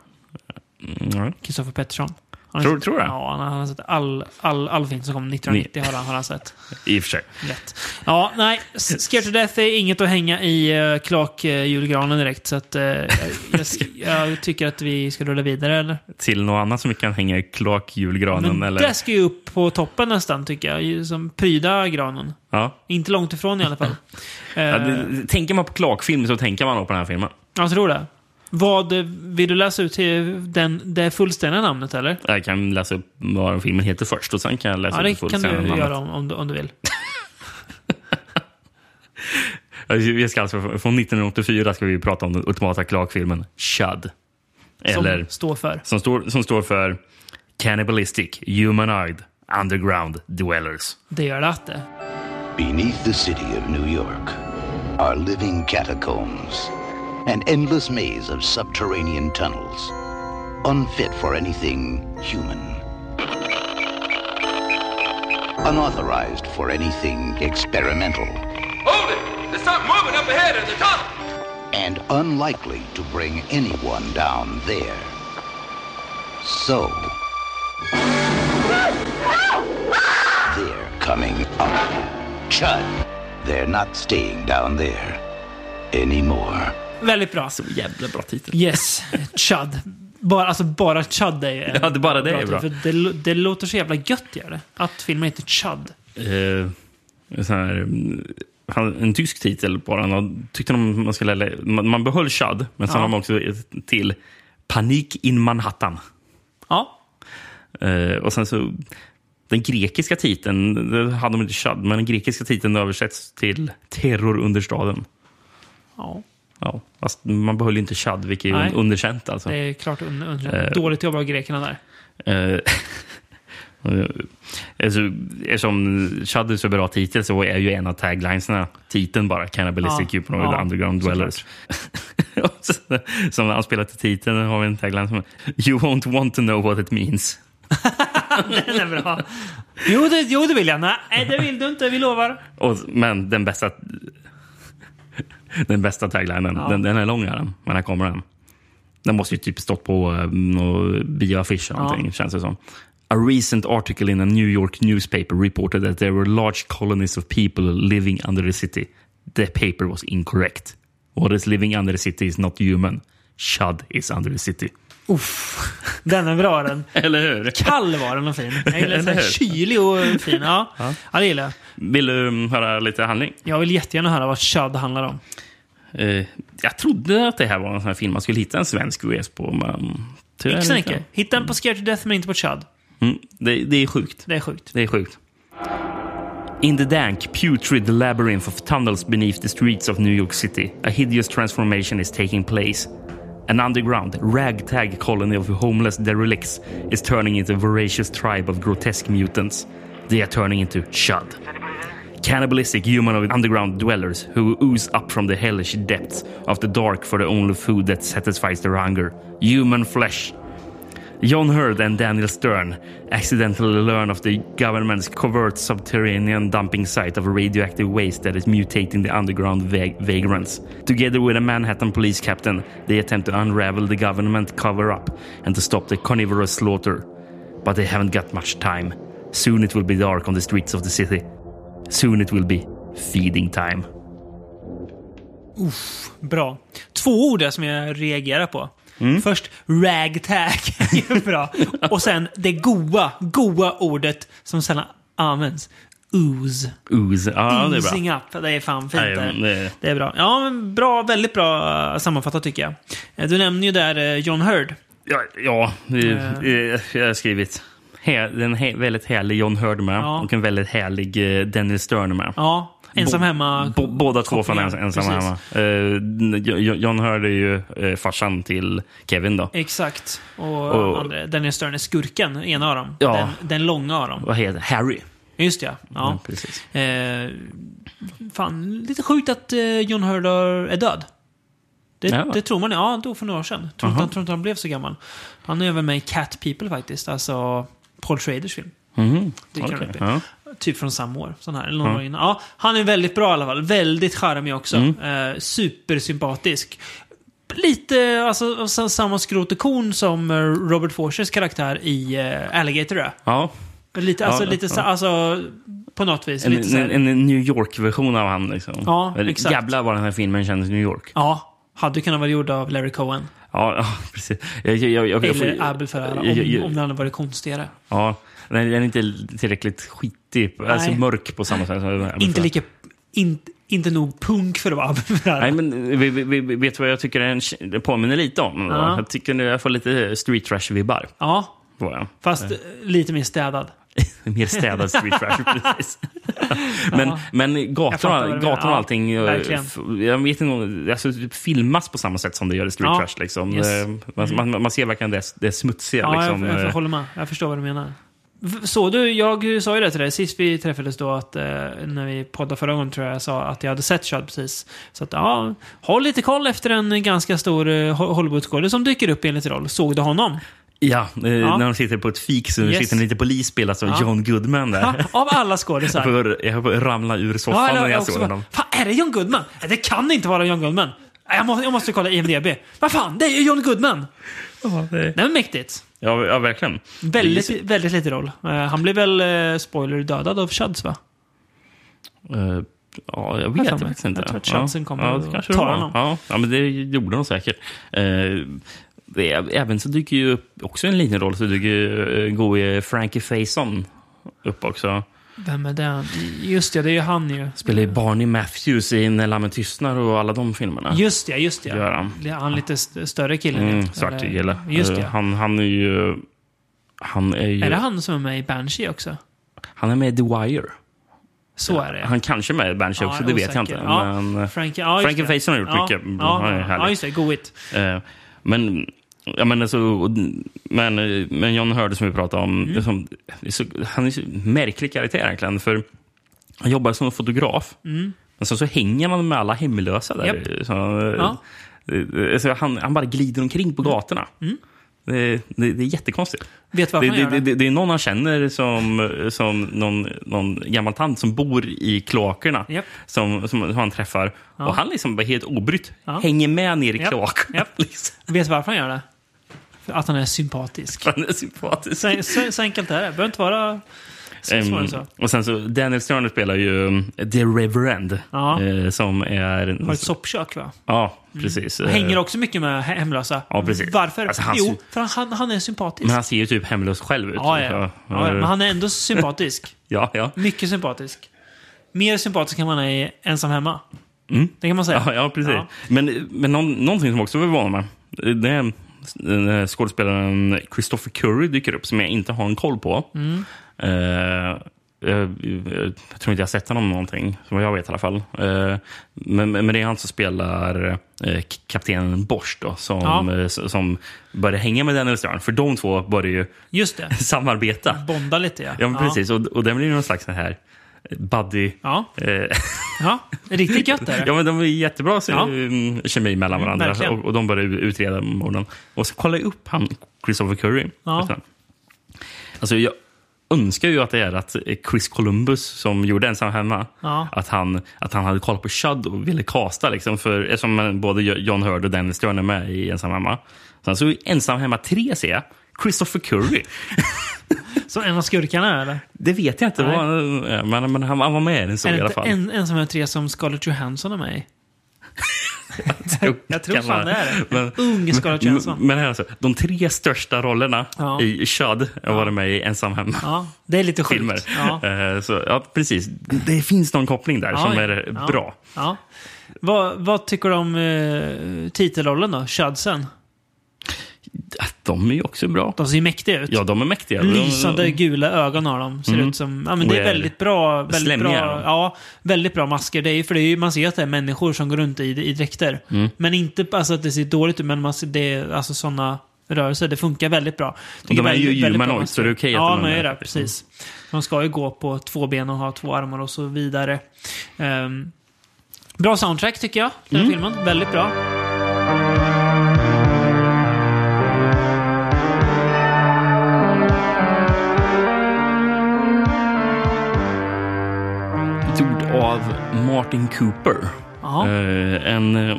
här. Mm, ja.
Kristoffer Pettersson. Har ni
Tror-
sett,
tror jag.
Ja, han har, han har sett all, all, all film som kom 1990. Har han, har han sett.
I och för sig.
Lätt. Ja, nej. S- Scared to Death är inget att hänga i uh, klak-julgranen direkt. Så att, eh, jag, jag, jag tycker att vi ska rulla vidare, eller?
Till något annat som vi kan hänga i klak-julgranen
Men
eller...
det ska ju upp på toppen nästan, tycker jag. Ju Som pryda granen.
Ja.
Inte långt ifrån i alla fall. Eh,
Ja, det, tänker man på klakfilm så tänker man nog på den här filmen.
Jag tror det. Vad eh, vill du läsa ut till den, det fullständiga namnet, eller?
Jag kan läsa upp vad filmen heter först och sen kan jag läsa
Ja,
upp
det
det
kan
fullständiga
du
namnet.
göra om, om, du, om du vill.
Vi ska alltså, från 1984 ska vi prata om den ultimata klakfilmen Shud.
Som
Eller
står för.
som, står, som står för Cannibalistic Humanoid Underground Dwellers.
Det gör det att det.
Beneath the city of New York are living catacombs, an endless maze of subterranean tunnels, unfit for anything human, unauthorized for anything experimental,
Hold it! There's something moving up ahead in the tunnel!
and unlikely to bring anyone down there. So, they're coming up. Chud! They're not staying down there anymore.
Väldigt bra. Så
jävla bra titel.
Yes, Chud. Bara, alltså bara Chud är ju en
Ja, det- bara det är bra.
titel, För det, lo- det låter så jävla gött, gör det. Att filmen heter Chud.
Eh, en sån här, mm, han- en tysk titel bara. Han tyckte de man, skulle, lä- man, man behöll Shud, men sen
Ja.
har man också ett till Panik in Manhattan.
Ja.
Eh, och sen så, den grekiska titeln, det hade de inte Shud, men den grekiska titeln översätts till Terror under staden.
Ja,
Ja, fast man behöll ju inte Shud, vilket är
Nej.
un- underkänt. Alltså.
det är klart un- un-
Eh.
Dåligt jobbat av grekerna där.
Eh, alltså, eftersom Shudder är så bra titel så är ju en av taglinesna titeln bara Cannibalistic
Ja,
Cuponoid
ja,
Underground
såklart.
Dwellers. Och sen, som när han spelar till titeln har vi en tagline som You won't want to know what it means.
Den är bra. Jo det, jo, det vill jag. Nej, det vill du inte. Vi lovar.
Och, men den bästa den bästa taglinen,
Ja.
den, den är lång är den, men här kommer den. Den måste ju typ stått på eh, någon bioaffisch eller
Ja.
någonting, känns det som. A recent article in a New York newspaper reported that there were large colonies of people living under the city. The paper was incorrect. What is living under the city is not human. Shud is under the city.
Uff, den är bra den.
Eller hur?
Kall var den och fin. Jag gillar
Eller
den.
hur?
Kylig och fin. Ja.
Ja.
ja, det gillar jag.
Vill du mm, höra lite handling?
Jag vill jättegärna höra vad Chud handlar om.
Eh, jag trodde att det här var en sån här film man skulle hitta en svensk VS på, men tyvärr
Nixon
inte.
inte. Hitta en på Scared to Death men inte på Chud.
Mm, det, det är sjukt.
Det är sjukt.
Det är sjukt. In the dank, putrid labyrinth of tunnels beneath the streets of New York City, a hideous transformation is taking place. An underground, ragtag colony of homeless derelicts is turning into a voracious tribe of grotesque mutants. They are turning into Shud. Cannibalistic humanoid underground dwellers who ooze up from the hellish depths of the dark for the only food that satisfies their hunger human flesh. John Hurd and Daniel Stern accidentally learn of the government's covert subterranean dumping site of radioactive waste that is mutating the underground va- vagrants. Together with a Manhattan police captain, they attempt to unravel the government cover up and to stop the carnivorous slaughter. But they haven't got much time. Soon it will be dark on the streets of the city. Soon it will be feeding time.
Uff, bra. Två ord där som jag reagerar på.
Mm.
Först ragtag, Det är bra. Och sen det goa, goa ordet som sällan används. Ooze.
Ooze. Ja, det är
Oozing
bra.
up. Det är fan fint.
Nej,
där.
men det-
Det är bra. Ja, men bra. Väldigt bra eh, sammanfattat tycker jag. Eh, Du nämner ju där eh, John Hurd.
Ja, ja eh, eh, jag har skrivit. Här, den här, väldigt härlig John Hurd med
Ja.
och en väldigt härlig eh, Dennis Stern med.
Ja, ensam
Bo-
hemma.
Bo- båda två från ens,
kopplingar.
ensamma hemma.
Precis.
Eh, Jo- Jo- John Hurd är ju eh, farsan till Kevin
Eh.
då.
Exakt. Och,
Och-
andra, Daniel Stern är skurken, ena av dem.
Ja.
Den, den långa av dem.
Vad heter Harry.
Just ja. ja.
Ja, precis.
Eh, fan, lite sjukt att eh, John Hurd har- är död. Det,
Ja.
det tror man. Ja, han dog för några år sedan. Tror inte, han, tror inte han blev så gammal. Han är även med i Cat People faktiskt. Alltså Paul Traders film.
Mhm.
Det kan
Okej,
det bli.
ja.
Typ från samma år. Sån här, eller någon
Ja.
år innan. Ja, han är väldigt bra i alla fall. Väldigt charmig också.
Mm.
Eh, supersympatisk. lite alltså, av sa- samma skrot och korn som eh, Robert Forsters karaktär i eh, Alligator. då.
Ja.
Lite, alltså,
Ja,
lite,
ja.
sa- alltså, på något vis.
En,
lite så här-
en, en New York-version av han. Liksom.
Ja,
Eller,
exakt.
Jävlar vad den här filmen kändes New York.
Ja, hade kunnat vara gjord av Larry Cohen.
Ja, ja precis. Jag, jag, jag, jag, jag,
Eller Abel Ferrara,
jag- jag-
om, om det hade varit konstigare.
Ja, den är den är inte tillräckligt skitig, alltså
Nej.
mörk på samma sätt som den här.
Inte lika... In, inte nog punk för att vara Abel Ferrara.
Nej, men vi, vi, vi, vet du vad jag tycker den den påminner lite om? då?
Ja.
Jag tycker nu jag får lite street trash-vibbar.
Ja,
får jag.
fast eh, lite mer städad.
Mer städad street trash, precis. Men, men
Jag fattar vad
gatorna,
du menar.
gatorna och
Ja,
allting, eh,
verkligen.
f- jag vet inte, om- alltså, typ filmas på samma sätt som det gör i street
Ja.
trash. Liksom.
Yes.
Eh, Man,
Mm.
man, man ser verkligen det, det smutsiga.
Ja,
liksom.
jag, jag
eh,
håller med. Jag förstår vad du menar. V- Så du, jag sa ju det till dig sist vi träffades då att eh, när vi poddade förra gången tror jag jag sa att jag hade sett Chud precis. Så att ja, håll lite koll efter en ganska stor eh, Ho- Hollywoodskådis som dyker upp i en liten roll. Såg du honom?
Ja, eh,
Ja.
när de sitter på ett fik så
Yes.
sitter en liten polis spelad av
Ja.
John Goodman där.
Av alla skådisar.
Jag får, jag får ramla ur soffan
eller-
när jag
också
såg
bara,
honom.
Fan, är det John Goodman? Nej, Det kan inte vara John Goodman. Nej, Jag måste, jag måste kolla IMDB. Vad fan, det är ju John Goodman!
det-
Det är mäktigt.
Ja, ja verkligen.
Väldigt,
Det är-
väldigt lite roll. Eh, Han blev väl, eh, spoiler, dödad av Chuds va?
eh, ja, jag
Jag
vet
tror
faktiskt
jag.
inte.
Jag tror att
Ja.
chansen kommer
ja,
att
det kanske
ta
det var.
honom.
Ja, ja, men det gjorde de säkert. Eh, det är, även så dyker ju upp, också en liten roll, så dyker ju eh, gode Frankie Faison upp också.
Vem är det? Just det, det är ju han ju.
Spelar ju Barney Matthews i När lammen tystnar och alla de filmerna.
Just det, just det.
Gör han.
Han lite st- större killen.
Mm,
vet.
svart
Eller-
kille.
Just
Eh,
det.
Han, han är ju... Han är ju...
Är det han som är med i Banshee också?
Han är med i The Wire.
Så är det.
Han kanske är med i Banshee
Ja,
också,
jag
det
är
vet jag inte.
osäker. Ja,
Men, eh,
Frankie, ja, just
Frankie
det.
Faison har gjort
Ja,
mycket.
ja,
Han är härlig.
ja, just det. Goigt.
Eh, Men, ja, men, alltså, och- men, eh, men John Hurd som vi pratade om,
Mm.
liksom, det är så, han är så märklig karaktär egentligen. För han jobbar som fotograf,
Mm.
men sen så hänger han med alla hemlösa där.
Japp.
Så, eh,
Ja.
eh, alltså, han, han bara glider omkring på gatorna.
Mm.
Det, det, det är jättekonstigt.
Vet du
Det,
varför han gör det?
det, det, det är någon han känner som, som någon, någon gammal tant som bor i kloakerna
Japp.
som, som, som han träffar.
Ja.
Och han liksom bara helt obrytt
Ja.
hänger med ner i
Japp.
kloakerna. Liksom.
Vet du varför han gör det? För att han är sympatisk.
Han är sympatisk.
Så, så, så enkelt är det. behöver inte vara så svårare
Ehm,
än så.
och sen så Daniel Stern spelar ju um, The Reverend.
Ja.
eh, som är... en-
Har ett soppkök va?
Ja, precis. Eh,
Mm. Hänger också mycket med he- hemlösa.
Ja, precis.
Varför?
Alltså, han-
jo, för han, han är sympatisk.
Men han ser ju typ hemlös själv ut.
ja, ja.
Så,
Ja, ja. Men han är ändå sympatisk.
ja, ja.
Mycket sympatisk. Mer sympatisk än man är i ensam hemma.
Mm.
Det kan man säga.
Ja, ja precis.
Ja.
Men, men någon, någonting som också förvånar mig. Det är när skådespelaren Christopher Curry dyker upp, som jag inte har en koll på.
Mm.
Eh, eh, jag tror inte jag har sett honom någonting, som jag vet i alla fall. Eh, men, men det är han som spelar eh, k- kaptenen Bosch då, som,
Ja.
eh, s- som börjar hänga med Daniel Stern. För de två börjar ju
Just det.
samarbeta.
Bonda lite ja.
Ja, men precis. Och, och det blir någon slags så här buddy...
Ja.
eh,
Ja. Riktigt gött är det.
Typ. Ja, men de är jättebra så,
Ja.
mm, kemi mellan varandra.
verkligen.
och, och de börjar utreda morgonen. Och så kollar jag upp han, Christopher Curry.
Ja.
Förstår du? Alltså, jag önskar ju att det är att Chris Columbus, som gjorde Ensam hemma,
Ja.
att, han, att han hade kollat på Chud och ville kasta. Liksom, för, eftersom både John Hurd och Dennis Stern är med i Ensam hemma. Sen så i Ensam hemma 3 ser jag Christopher Curry.
Så en av skurkarna eller?
Det vet jag inte,
Nej.
vad, men, men han, han var med i den så
är
i
det
alla
inte
fall.
en, en som är tre som Scarlett Johansson är med i? Jag tror
kan
fan
man-
det är det.
Men-
Ung Scarlett Johansson.
Men, men här alltså, de tre största rollerna
Ja.
i Chud har varit med i Ensam hemma.
Ja, det är lite sjukt.
Filmer.
Ja.
Eh, Så, ja, precis. Det finns någon koppling där
Ja,
som
ja.
är
Ja.
bra.
Ja. Vad, vad tycker du om eh, titelrollen då? Chudsen?
De är ju också bra.
De ser ju mäktiga ut.
Ja, de är mäktiga. De-
Lysande gula ögon har de. Ser
Mm.
ut som... Ja, men det
Och
är
är
väldigt bra, väldigt bra,
slemmiga är de.
ja, väldigt bra masker. Det är, ju- för det är, ju- man ser att det är människor som går runt i, i dräkter.
Mm.
Men inte alltså, att det ser dåligt ut, men man ser, det är alltså sådana rörelser. Det funkar väldigt bra.
Och de är ju
väldigt bra
humanoid,
masker.
så det är okej att
Ja,
de är
de är
med.
det. Precis. De ska ju gå på två ben och ha två armar och så vidare. Ehm, bra soundtrack tycker jag, den här
Mm.
filmen. Väldigt bra.
Gjord av Martin Cooper.
Ja.
Eh, En eh,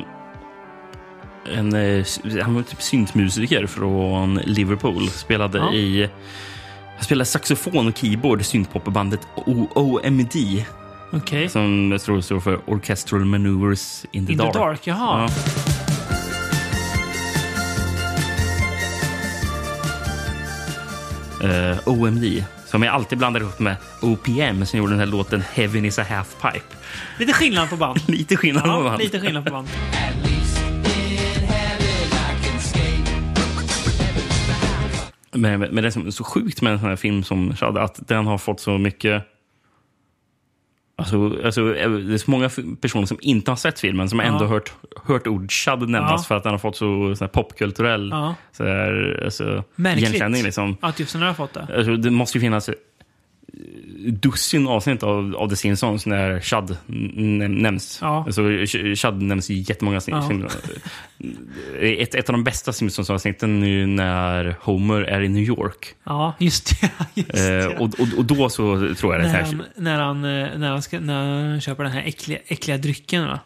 en, eh, han var typ syntmusiker från Liverpool. Spelade
Ja.
i... Han spelade saxofon och keyboard i syntpopbandet O- OMD.
Okej.
Som jag tror står för Orchestral Maneuvers in the
In the
Dark.
Dark, jaha.
Ja. Eh, OMD, som jag alltid blandar ihop med OPM som gjorde den här låten Heaven is a halfpipe.
Lite skillnad på band.
Lite skillnad på
ja,
band.
lite skillnad på band.
Men, men det som är så sjukt med en sån här film som Shad, att den har fått så mycket... Alltså, alltså, det är så många f- personer som inte har sett filmen som ändå
Ja.
hört, hört ord Shad nämnas
Ja.
för att den har fått så, sån här popkulturell
Ja.
så här, alltså,
Märkligt
igenkänning. Liksom.
att just den här har fått det.
Alltså, det måste ju finnas eh, dussin avsnitt av, av The Simpsons när Chad n- nämns.
Ja.
Alltså, Ch- Chad nämns i jättemånga
Ja.
avsnitt. Ett, ett av de bästa Simpsons-avsnitten är ju när Homer är i New York.
Ja, just det. Just det.
Eh, och, och, och då så tror jag det
när,
här...
han, när, han, eh, när, han ska, när han köper den här äckliga, äckliga drycken va?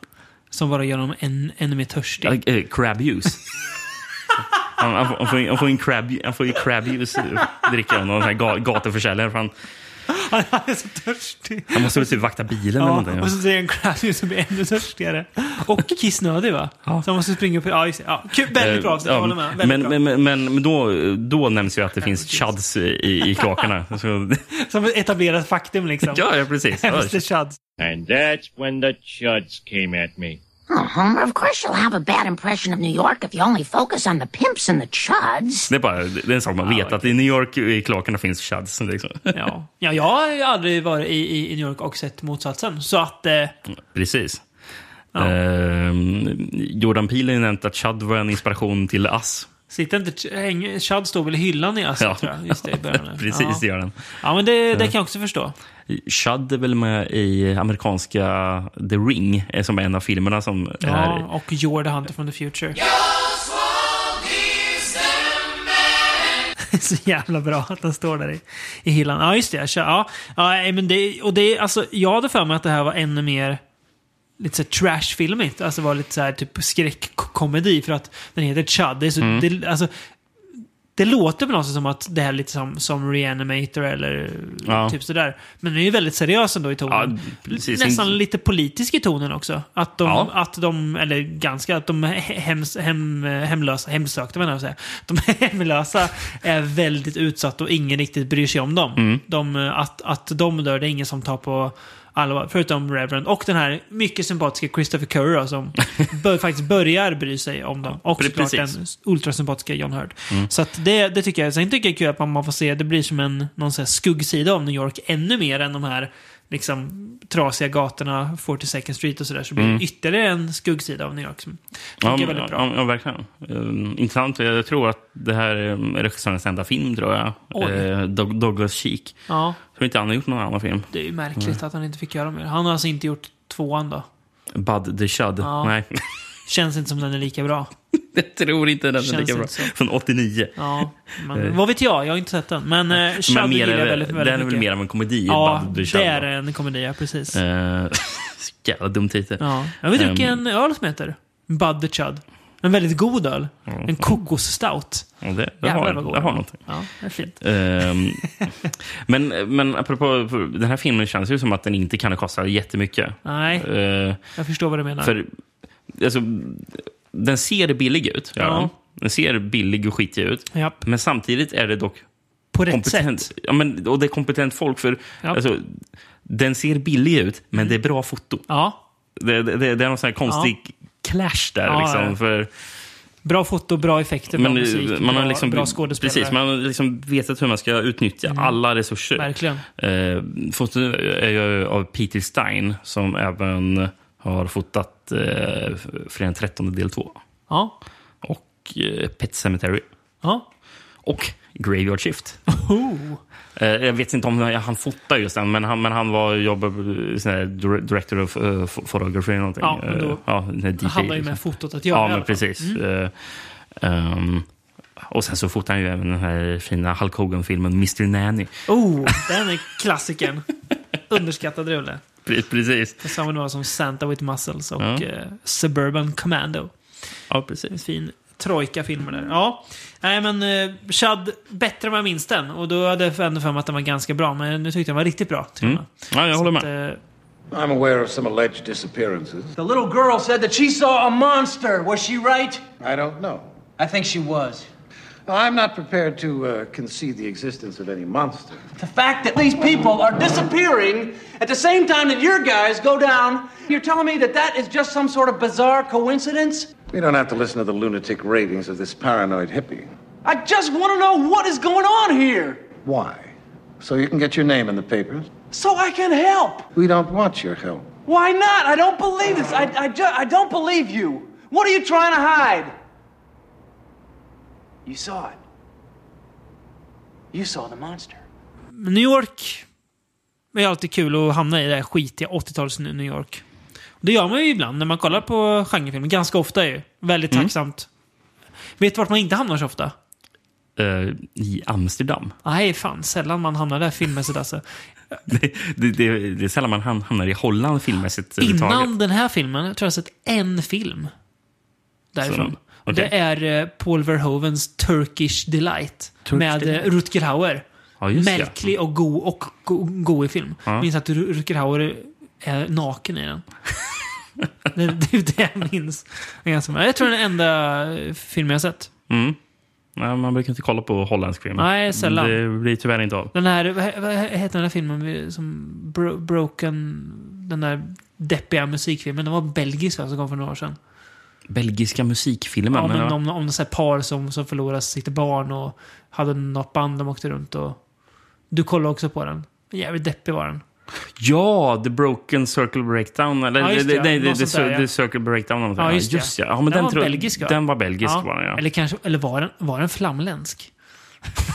Som bara gör honom än, ännu mer törstig.
Ja, eh, crab juice. Han, han, får- han, får, han får en crab, han får ju crab juice eh, dricka av någon sån här ga- gatuförsäljare. för Han,
Han är så törstig.
han måste väl typ vakta bilen eller
Ja,
någonting.
och så säger han Krabby som blir ännu törstigare. Och kissnödig va? Så han måste springa upp. Ja, just, det. ja. Kul, väldigt bra avsnitt, jag
Eh, ja,
håller med. Väldigt
Men,
bra.
men, men, men då, då nämns ju att det finns chads i, i klakarna. Så,
Som ett etablerat faktum liksom.
ja, ja, precis. Ja.
Mr Chuds.
And that's when the chuds came at me.
Oh, Homer, of course you'll have a bad impression of New York if you only focus on the pimps and the chuds.
Det är, bara, det är en sak man vet, att i New York i klakarna finns chads. Liksom.
Ja. Ja, jag har ju aldrig varit i, i, i New York och sett motsatsen. Så att... Eh,
Precis. Ehm, Jordan Peele har ju nämnt att chad var en inspiration till ass.
sitter inte... Ch- häng- Chud står väl i hyllan i Aska tror jag. Just det, i början. där.
precis, det gör den.
Ja, men det, det
Ja.
kan jag också förstå.
Chad är väl med i amerikanska The Ring, eh, som är en av filmerna som är
Ja, och George the Hunter from the Future. så jävla bra att den står där i, i hyllan. Ja, just det. Jag kör, ja. Ja, nej, men det, och det, alltså, jag hade för mig att det här var ännu mer lite så här trashfilmigt. Alltså var lite så här typ skräckkomedi för att den heter Chud. Det, är så,
Mm.
det, alltså, det låter på något sätt som att det här är lite som, som Reanimator eller
Ja.
typ sådär. Men den är ju väldigt seriös ändå i tonen.
precis.
Nästan lite politisk i tonen också. Att de,
Alltså- Ja.
att de eller ganska, att de hems, hem, hemlösa, hemsökta menar jag att säga. De hemlösa är väldigt utsatta och ingen riktigt bryr sig om dem.
Mm.
De, eh, att, att de dör, det är ingen som tar på allvar. Förutom Reverend och den här mycket sympatiska Christopher Curry då, som bör, faktiskt börjar bry sig om dem. Och
Pre-
såklart den
precis.
ultrasympatiska John Hurd.
Mm.
Så att det, det tycker jag. Sen tycker jag det är kul att man, man får se, det blir som en någon sån här skuggsida av New York ännu mer än de här liksom, trasiga gatorna, 42nd Street och sådär. Så blir det
Mm.
ytterligare en skuggsida av New York som funkar
Ja, men-
väldigt bra.
ja, ja, verkligen. Ehm, intressant. Jag tror att det här är um, regissörens enda film, tror jag.
Oj.
Eh, Doug- Douglas Cheek.
Ja.
Tror inte han har gjort någon annan film.
Det är ju märkligt att han inte fick göra mer. Han har alltså inte gjort tvåan då.
Bud the Shud.
Ja.
Nej,
Känns inte som den är lika bra.
jag tror inte den är
Känns
lika bra.
inte så.
Från 89.
Ja, men,
Eh.
vad vet jag? Jag har inte sett den. Men eh, Chud
mer
gillar
är
jag
väl-
väldigt, väldigt
den är väl
mycket.
mer av en komedi,
Ja,
Bud the Shud,
det är en komedi, ja, precis.
Eh, så jävla dum titel.
Ja. Jag vill dricka
Ehm,
en öl som heter Bud the Chud. En väldigt god öl.
Ja.
En kokostout.
ja, det, det,
Jävlar
Mm. har,
vad god
det
den
har
är.
någonting.
Ja, det är fint.
Ehm, men, men apropå, för den här filmen känns ju som att den inte kan ha kostat jättemycket.
Nej,
Eh,
jag förstår vad du menar.
För, alltså, den ser billig ut. gör
Ja.
den. Den ser billig och skitig ut.
Japp.
Men samtidigt är det dock...
På rätt
sätt. Ja, men, och det är kompetent folk. för
Japp.
alltså, Den ser billig ut, men det är bra foto.
Ja.
Det, det, det, det är någon sån här konstig clash där.
Ja,
liksom,
ja.
För,
Bra foto, bra effekter, bra
men,
musik,
man
bra,
har liksom,
bra skådespelare. Mm.
Precis, man har liksom vetat hur man ska utnyttja alla resurser.
Verkligen.
Eh, fotot är ju av Peter Stein som även har fotat eh, Fredag den 13 del 2.
Ja.
Och eh, Pet Cemetery.
Ja.
Och Graveyard Shift.
Oh.
Eh, jag vet inte om han fotade just den, men han, men han var jobbade, sån här, dir- director of uh, photography eller någonting.
Ja, men då-
Eh, ja, den här DJ,
Det handlar ju med
liksom.
fotot att göra.
Ja,
i
men
alla fall.
precis.
Mm.
Eh, ehm, och sen så fotade han ju även den här fina Hulk Hogan-filmen Mr Nanny.
Oh, den är klassikern. Underskattad rulle.
Pre- Precis.
På samma nivå som Santa with Muscles och
Ja.
eh, Suburban Commando.
Ja, Ja, precis.
Fin trojka filmer där. Ja. Nej men eh, Chad, bättre än vad jag minns den. Och då hade jag ändå för mig att den var ganska bra. Men nu tyckte jag den var riktigt bra.
Mm. Ja, jag håller med.
eh,
I'm aware of some alleged disappearances.
The little girl said that she saw a monster. Was she right?
I don't know.
I think she was.
Now, I'm not prepared to uh, concede the existence of any monster.
The fact that these people are disappearing at the same time that your guys go down, you're telling me that that is just some sort of bizarre coincidence?
We don't have to listen to the lunatic ravings of this paranoid hippie.
I just want to know what is going on here
Why? So you can get your name in the papers?
so I can help.
We don't want your help.
Why not? I don't believe this. I, I, ju- I don't believe you. What are you trying to hide? You saw it. You saw the monster.
New York är alltid kul att hamna i det här skitiga 80-tals New York. Och det gör man ju ibland när man kollar på genrefilmer. Ganska ofta ju. Väldigt
Mm.
tacksamt. Vet du vart man inte hamnar så ofta?
Eh, I Amsterdam.
Nej, fan. Sällan man hamnar där filmmässigt alltså.
Det, det, det, det är sällan man ham- hamnar i Holland filmmässigt. överhuvudtaget.
Innan den här filmen tror jag sett en film därifrån.
Så,
Och
okej.
Det är eh, Paul Verhovens Turkish Delight
Turkish
med eh,
Delight.
Rutger Hauer.
Ja, just det.
Märklig och go och go, go i film.
Ja.
Minns att Ru- Rutger Hauer är naken i den. det, det är det jag minns. Det är ganska bra. Jag tror det är den enda eh, film jag har sett.
Mm. Nej, man brukar inte kolla på holländsk film.
Nej, sällan.
Det blir tyvärr inte av.
Den här, vad, vad heter den här filmen vi- som bro, Broken, den där deppiga musikfilmen. Den var belgisk va, som kom för några år sedan.
Belgiska musikfilmer.
Ja, men
men,
om, om så här par som, som förlorar sitt barn och hade något band de åkte runt och... Du kollade också på den. Jävligt deppig var den.
ja, The Broken Circle Breakdown. Eller,
Ja, just det,
det, nej,
något
det, det,
sånt där, ja.
The Circle Breakdown. eller något
Ja,
sånt.
just,
just
det.
ja. ja men den,
var
tror,
belgisk va?
Den var belgisk. Var den, ja.
Eller, kanske, eller var, den, var den flamländsk?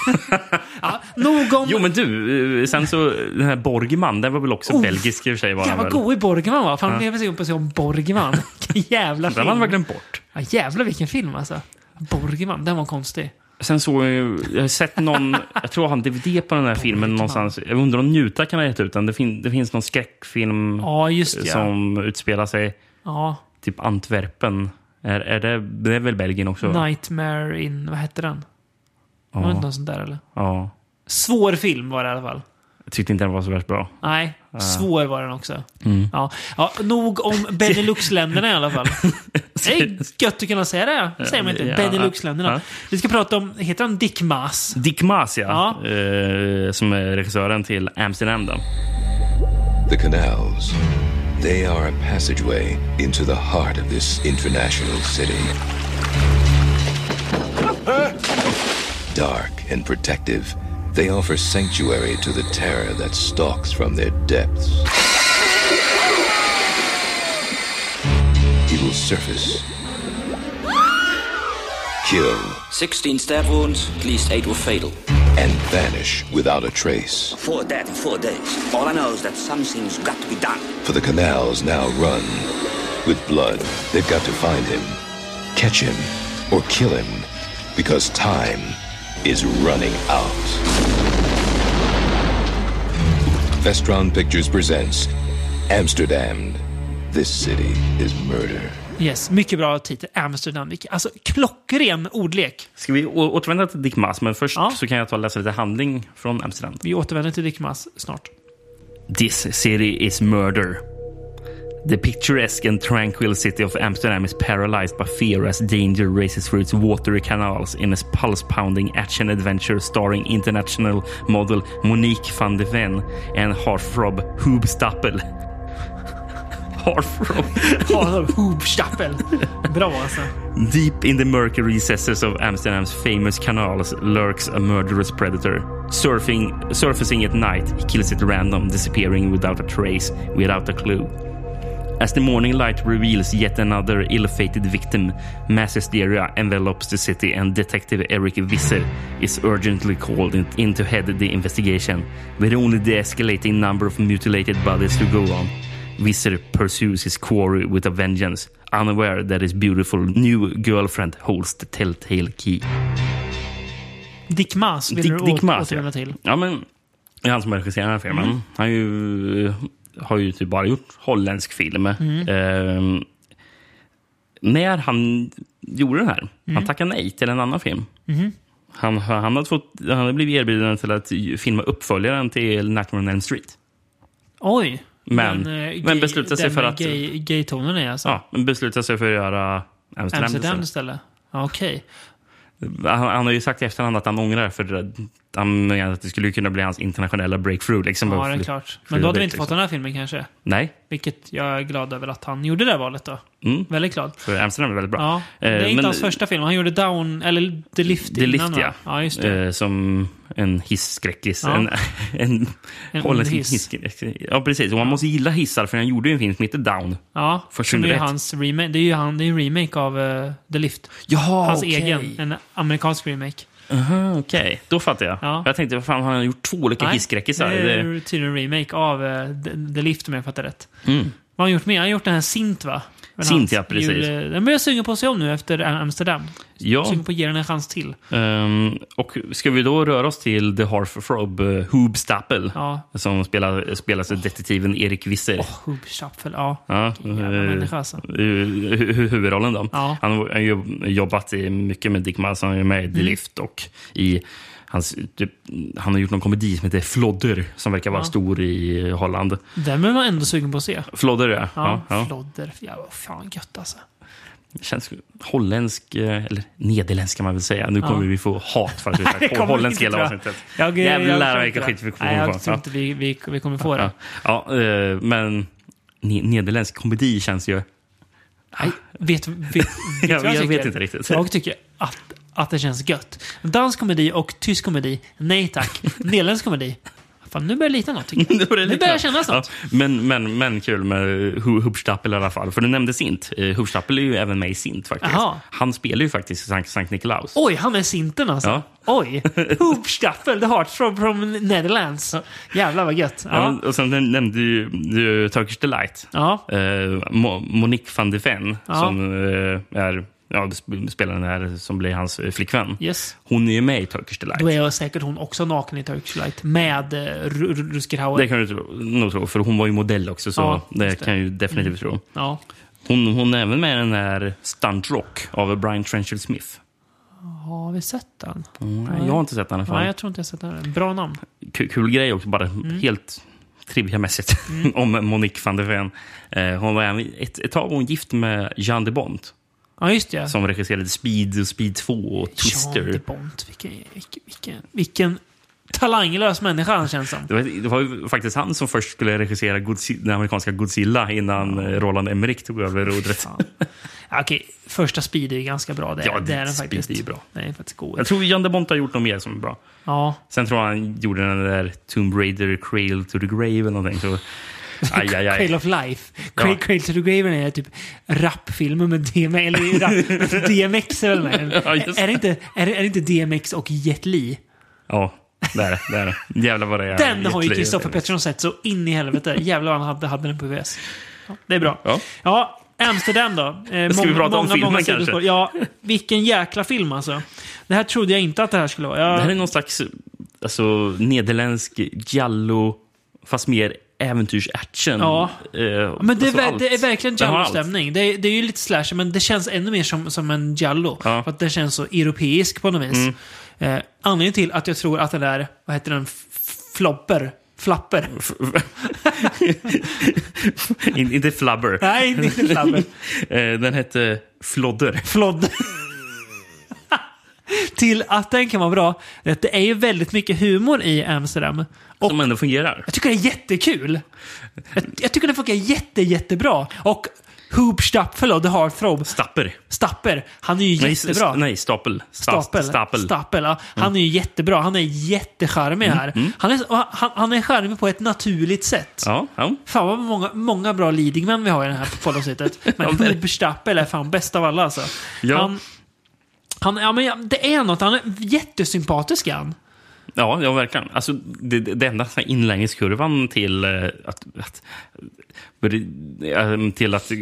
ja, nog om...
Jo, men du. eh, Sen så, den här Borgman, den var väl också belgisk i och för sig. Var den
Jävlar
väl?
vad god i Borgman var. Fan,
Ja.
jag blev sugen på att se om Borgman. Vilken jävla film.
Den var verkligen bort.
Ja, jävlar vilken film alltså. Borgman, den var konstig.
Sen såg jag ju, jag har sett någon, jag tror jag har en DVD på den här filmen någonstans. Jag undrar om Njuta kan ha gett ut den. Det, fin, det finns någon skräckfilm
Ja, just det, ja.
som utspelar sig
Ja.
typ Antwerpen. Är, är det, det är väl Belgien också?
Nightmare in... Vad hette den? Var det
Ja.
inte någon sån där eller?
Ja.
Svår film var det i alla fall.
Jag tyckte inte den var så värst bra.
Nej,
Ja.
svår var den också.
Mm.
Ja. Ja, nog om Benelux-länderna i alla fall. Det är gött att kunna säga det. Säger man inte.
Ja,
Benelux-länderna.
ja.
Vi ska prata om, heter han Dick Maas?
Dick Maas, ja. Eh, som är regissören till Amsterdam. Då.
The canals. They are a passageway into the heart of this international city. Dark and protective, they offer sanctuary to the terror that stalks from their depths. He will surface, kill,
16 stab wounds, at least 8 were fatal.
and vanish without a trace.
Four dead in four days. All I know is that something's got to be done.
For the canals now run. With blood, they've got to find him, catch him, or kill him, because time is running out. Vestron Pictures presents Amsterdam. This city is murder.
Yes, mycket bra titel. Amsterdam. Vilken- Alltså, klockren ordlek.
Ska vi å- återvända till Dick Maas, men först så kan jag ta och läsa lite handling från Amsterdam.
Vi återvänder till Dick Maas snart.
This city is murder. The picturesque and tranquil city of Amsterdam is paralyzed by fear as danger races through its watery canals in a pulse pounding action adventure starring international model Monique van de Ven and heartthrob Hoob Stappel. heartthrob.
Adam Hoopstappel. Bra alltså.
Deep in the murky recesses of Amsterdam's famous canals lurks a murderous predator. Surfing, surfacing at night, he kills at random, disappearing without a trace, without a clue. As the morning light reveals yet another ill fated victim, mass hysteria envelops the city, and Detective Eric Visser is urgently called in, in to head the investigation. With only the escalating number of mutilated bodies to go on, Visser pursues his quarry with a vengeance, unaware that his beautiful new girlfriend holds the telltale key.
Dick Maas vill
Dick-
du
Dick
åt-
Maas,
återvända
ja.
till.
Ja, men det är han som regisserar den här filmen.
Mm.
Han är ju, eh, har ju typ bara gjort holländsk film.
Mm.
Ehm, när han gjorde den här.
Mm.
Han tackade nej till en annan film.
Mhm.
Han, han, hade fått, han hade blivit erbjuden till att filma uppföljaren till Nightmare on Elm Street.
Oj.
Men-
eh,
men beslutade sig
den
för
med
att-
Gay, gay-tonen är alltså.
Ja, men beslutade sig för att göra Amsterdam.
Amsterdam
istället.
istället. Ja, Okej.
Han, han har ju sagt i efterhand att han ångrar för det, han menar att det skulle kunna bli hans internationella breakthrough. Liksom,
Ja,
Bara
det är
fly-
klart.
fly
Men då hade
dit,
vi inte
liksom.
fått den här filmen kanske.
Nej.
Vilket jag är glad över att han gjorde det där valet då.
Mm.
Väldigt glad.
För Amsterdam är väldigt bra.
Ja, det är
Eh,
inte
men-
hans första film. Han gjorde Down, eller The Lift
Det är
innan
lift, ja.
va? ja, just det.
Eh, Som en hisskräckis.
Ja.
En, en,
En
holländsk
hiss.
hisskräckis. Ja, precis. Och man måste gilla hissar, för han gjorde ju en film som heter Down.
Ja,
För
som är ju
2001.
hans remake. Det är ju han, det är ju en remake av eh, The Lift.
Jaha,
hans
Ah, okej.
egen. En amerikansk remake.
Aha, Ah, okej. Då fattar jag.
Ja.
Jag tänkte, vad fan, har han gjort två olika hisskräckisar?
det
Det...
är tydligen en remake av eh, The, The Lift om jag fattar rätt.
Mm.
Vad har han gjort mer? Han har gjort den här Sint va? Men
Sint,
hans
ja, precis.
jul- Den blir jag sugen på att se om nu efter Amsterdam.
Ja.
Sugen på att ge den en chans till.
Ehm, och ska vi då röra oss till The Harf Frob, uh, Hoob Stappel,
Ja.
som spelar, spelas av detektiven Erik Visser.
Hoob Schaffel, ja.
Ja,
människa, alltså.
eh, hu- hu- huvudrollen då.
Ja.
Han har han har jobbat i mycket med Dick Maas. Han är med i The
Mm.
Lift och i hans, typ, han har gjort någon komedi som heter Flodder som verkar vara
Ja.
stor i Holland.
Den blir man ändå sugen på att se.
Flodder, ja.
Ja,
ja, ja.
Flodder. Ja, vad fan gött alltså.
Känns holländsk, eh, eller nederländsk kan man väl säga. Nu
Ja.
kommer vi få hat för att vi
Nej, det
snackar
kommer vi
holländsk
inte,
hela
tror
avsnittet.
Jag,
Jävlar
tror
vilken
inte
skit vi
det.
kommer
Nej,
få.
Jag tror inte vi, vi, vi kommer få det.
Ja, ja, eh, men ne- nederländsk komedi känns ju...
Nej, vet, vet, vet
Jag-
vad
jag
tycker?
vet inte riktigt.
Jag tycker att, att det känns gött. Dansk komedi och tysk komedi, nej tack. Nederländsk komedi, fan nu börjar det lita något tycker jag. nu börjar det kännas något.
Ja, men, men, men kul med Hu- Hubstappel i alla fall. För du nämnde Sint. Eh, Hubstappel är ju även med i Sint faktiskt.
Jaha.
Han spelar ju faktiskt Sankt, Sankt Nikolaus.
Oj, han är sinten alltså.
Ja.
Oj! Hoopstaffel, the heart from, from Netherlands. Jävlar vad gött.
Ja,
Ja.
men- och sen nämnde du, du Turkish Delight.
Ja.
Eh, Mo- Monique van de Ven
Ja.
som eh, är ja, sp- spelar den här som blir hans eh, flickvän.
Yes.
Hon är ju med i Turkish Delight.
Då är jag säkert hon också naken i Turkish Light med eh, Ru- Ru- Rutger Hauer.
Det kan du tro, nog tro, för hon var ju modell också. Så
Ja,
det
just det. Mm.
kan jag ju definitivt tro.
Ja.
Hon, hon är även med i den här Stunt Rock av Brian Trenchard Smith.
Har vi sett den?
Nej, jag har inte sett den i alla fall.
Nej, jag tror inte jag har sett den. Bra namn.
kul, kul grej också, bara
Mm.
helt triviamässigt, om Monique van der Ven. Eh, hon var, även- ett, ett tag var hon gift med Jean de Bont
Ja, just det.
som regisserade Speed, och Speed 2 och Twister.
Jean de Bont. Vilken, vilken, vilken, vilken talanglös människa han känns som.
Det var, det var ju faktiskt han som först skulle regissera Godzi- den amerikanska Godzilla innan eh, Roland Emmerich tog över rodret.
Ja, Okej, första Speed är ju ganska bra. Det,
Ja,
det är den
Speed
faktiskt.
är ju bra.
Den är faktiskt god.
Jag tror Jean de Bont har gjort något mer som är bra.
Ja.
Sen tror jag han gjorde den där Tomb Raider, Cradle to the Grave eller någonting. Så, aj, aj, aj.
Cradle of Life.
Ja.
Cradle, Cradle to the Graven är typ rapfilmer med DMX. Eller rap, DMX är väl med?
Ja, just det.
är, det inte, är, det, är det inte DMX och Jet Li?
Ja, det är det. det. är det. Jävlar vad det är.
Den har ju
jätteliv.
Kristoffer Pettersson sett så in i helvete. Jävlar vad han hade, hade den på VS. Ja, det är bra.
Ja.
Ja, Amsterdam då. Eh,
Ska vi
mång-
prata om filmen
sidospår.
kanske?
Ja, vilken jäkla film alltså. Det här trodde jag inte att det här skulle vara. Jag,
Det här är någon slags alltså, nederländsk giallo, fast mer äventyrs-action.
Ja.
Eh,
Ja, Men det,
alltså
är, ver-
allt.
det är verkligen
Den har allt.
Jallo-stämning. Det, är- det är ju lite slasher, men det känns ännu mer som, som en Jallo. För att den känns så europeisk på något vis.
Mm.
Eh, anledningen till att jag tror att den där, vad heter den, F- Flopper? Flapper?
In, inte Flubber.
Nej, inte Flubber.
Eh, den hette Flodder.
Flodder. till att den kan vara bra. är att Det är ju väldigt mycket humor i Amsterdam. Och
Som ändå fungerar.
jag tycker det är jättekul. Jag, jag tycker den funkar jätte, jättebra. Och Hoop Stapfel och The Heartthrob.
Stapper.
Stapper. Han är ju
Nej,
jättebra.
s- nej, stapel. Sta-
Stapel.
Stapel.
Stapel, ja. Han är ju jättebra. Han är jättecharmig
Mm,
här.
mm.
Han, är, han, han är charmig på ett naturligt sätt.
Ja, ja.
Fan vad många, många bra leadingmän vi har i det här poddavsnittet. Men Huberstappel är fan bäst av alla alltså.
Ja.
Han, han, ja, men ja, det är något. Han är jättesympatisk är han.
Ja, ja verkligen. Alltså, det, det det enda så här inlärningskurvan till eh, att, att, eh, till att eh,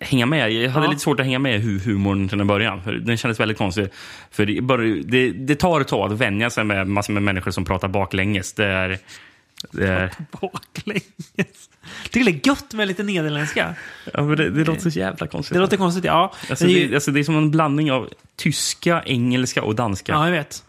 hänga med. Jag hade
Ja.
lite svårt att hänga med i hu- humorn till en början. För den kändes väldigt konstig. För det, bör- det, det tar ett tag att vänja sig med massor med människor som pratar baklänges. Det är, Det är...
Baklänges. Tycker det är gött med lite nederländska.
Ja, men det, det låter så jävla konstigt.
Det låter konstigt, ja.
Alltså,
Men det är
det,
ju-
alltså, det är som en blandning av tyska, engelska och danska.
Ja, jag vet.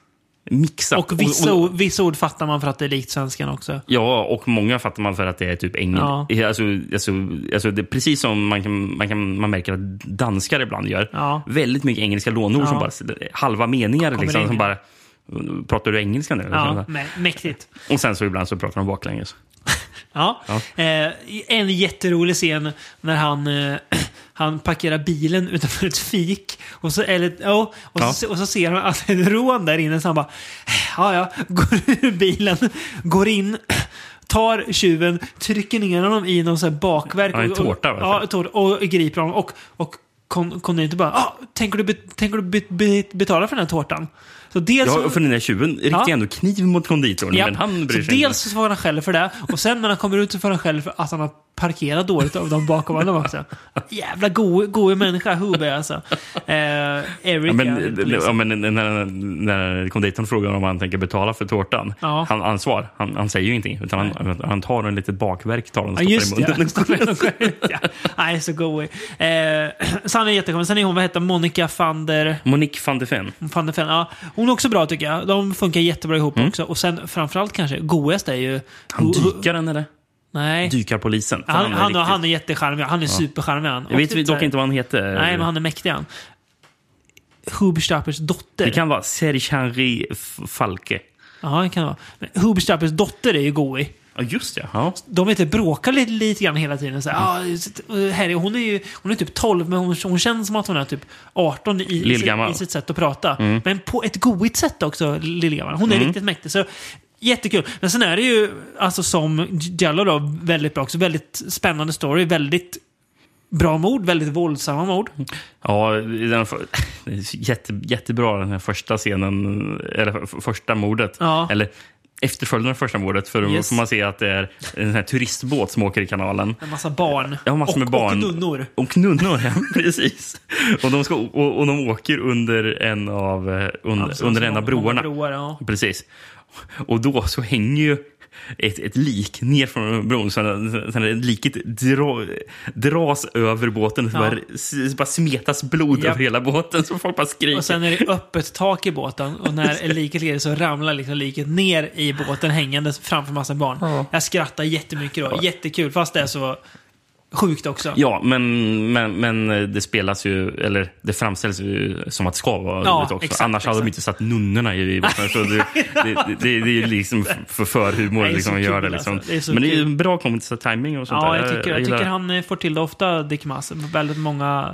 Mixat.
Och vissa, ord- vissa ord fattar man för att det är likt svenskan också.
Ja, och många fattar man för att det är typ engel.
Ja.
Alltså, alltså, alltså det är precis som man, kan, man, kan, man märker att danskar ibland gör.
Ja.
Väldigt mycket engelska lånord som
Ja.
bara halva meningar.
Kommer
Liksom,
in.
som bara, pratar du engelska nu?
Ja, mä- mäktigt.
Och sen så ibland så pratar de baklänges.
Ja.
Ja.
Eh, en jätterolig scen när han, eh, han parkerar bilen utanför ett fik. Och så, eller, ja, och
Ja.
så, och så ser han att det är ett rån där inne. Så han bara, ja ja, går ur bilen, går in, tar tjuven, trycker ner honom i någon sån här bakverk.
Ja, en
och-
tårta,
Och,
va?
ja, en tårta. Och griper honom. Och, och kon- konditen bara, ah, tänker du, be, tänker du be, be, betala för den här tårtan? Så dels
Ja, och för den där tjuven riktar
Ja.
ändå kniv mot konditorn,
Ja.
men han bryr
så
sig
dels så får han skäll för det och sen när han kommer ut så får han skäll för att han har parkerat dåligt av dem bakom honom också. Jävla go- goe människa, Hube alltså. Eh, Eric
inte. Ja,
är
men, eh,
polis.
ja, men när, när konditorn frågar om han tänker betala för tårtan,
Ja.
han, han svar, han, han säger ju ingenting. Utan han, han tar en litet bakverk, tar den och
Ja,
stoppar
just
i
det.
munnen.
ja. Nej, så goe. Eh, så han är jättekommen. Sen är hon, vad heter hon? Monica van der...
Monique van de Ven.
Van der Fen. Ja, hon är också bra tycker jag. De funkar jättebra ihop också. Och sen framförallt kanske, goest är ju...
Mm. Han dykaren eller?
Nej.
Dykarpolisen. Fan,
Han, han,
riktigt-
han är jättecharmig. Han är
Ja.
supercharmig han.
Jag
Och
vet
typ så
dock
här-
inte vad han heter.
Nej, men han är mäktig han. Hubstappers dotter.
Det kan vara Serge Henri F- Falke.
Ja, det kan det vara. Men Hubstappers dotter är ju goi.
Ja, just det. Ja.
De vet, bråkar lite, lite grann hela tiden. Så här,
Mm.
ah, Harry, hon, är ju, hon är typ 12, men hon, hon känns som att hon är typ 18 i, i, sitt,
Lillgammal.
i sitt sätt att prata.
Mm.
Men på ett goigt sätt också, lillgammal. Hon är
Mm.
riktigt mäktig. Så, Jättekul. Men sen är det ju, alltså som Jello då, väldigt bra också. Väldigt spännande story. Väldigt bra mord. Väldigt våldsamma mord.
Mm. Ja, den för, det är jätte, jättebra den här första scenen, eller f- första mordet.
Ja.
Eller efterföljden av första mordet, för då
Yes.
får man se att det är en sån här turistbåt som åker i kanalen.
En massa barn.
Ja, massor
och,
med barn.
Och nunnor.
Och nunnor, ja, precis. Och de, ska, och, och de åker under en av, eh,
Ja,
under,
precis,
under en av
många-
broarna.
många broar, ja.
Precis. Och då så hänger ju ett, ett lik ner från bron. Så när- så när liket dra, dras över båten så
Ja.
bara, s- bara smetas blod
Japp.
över hela båten. Så folk bara skriker.
Och sen är det öppet tak i båten och när liket ligger så ramlar liksom liket ner i båten hängandes framför massa barn.
Ja.
Jag skrattar jättemycket då. Jättekul, fast det är så sjukt också.
Ja, men, men, men det spelas ju, eller det framställs ju som att det ska vara
Ja,
roligt också.
exakt,
Annars hade
exakt.
de inte satt nunnorna i i botten. Så det, det, det, det är ju liksom för förhumor
Det är så
liksom, att göra
kul,
det. Liksom.
alltså. Det är så
men det är ju
kul.
en bra kommentar, timing och sånt
Ja,
där.
jag tycker, jag
gillar
tycker
det.
han eh, får till det ofta, Dick Mass. Väldigt många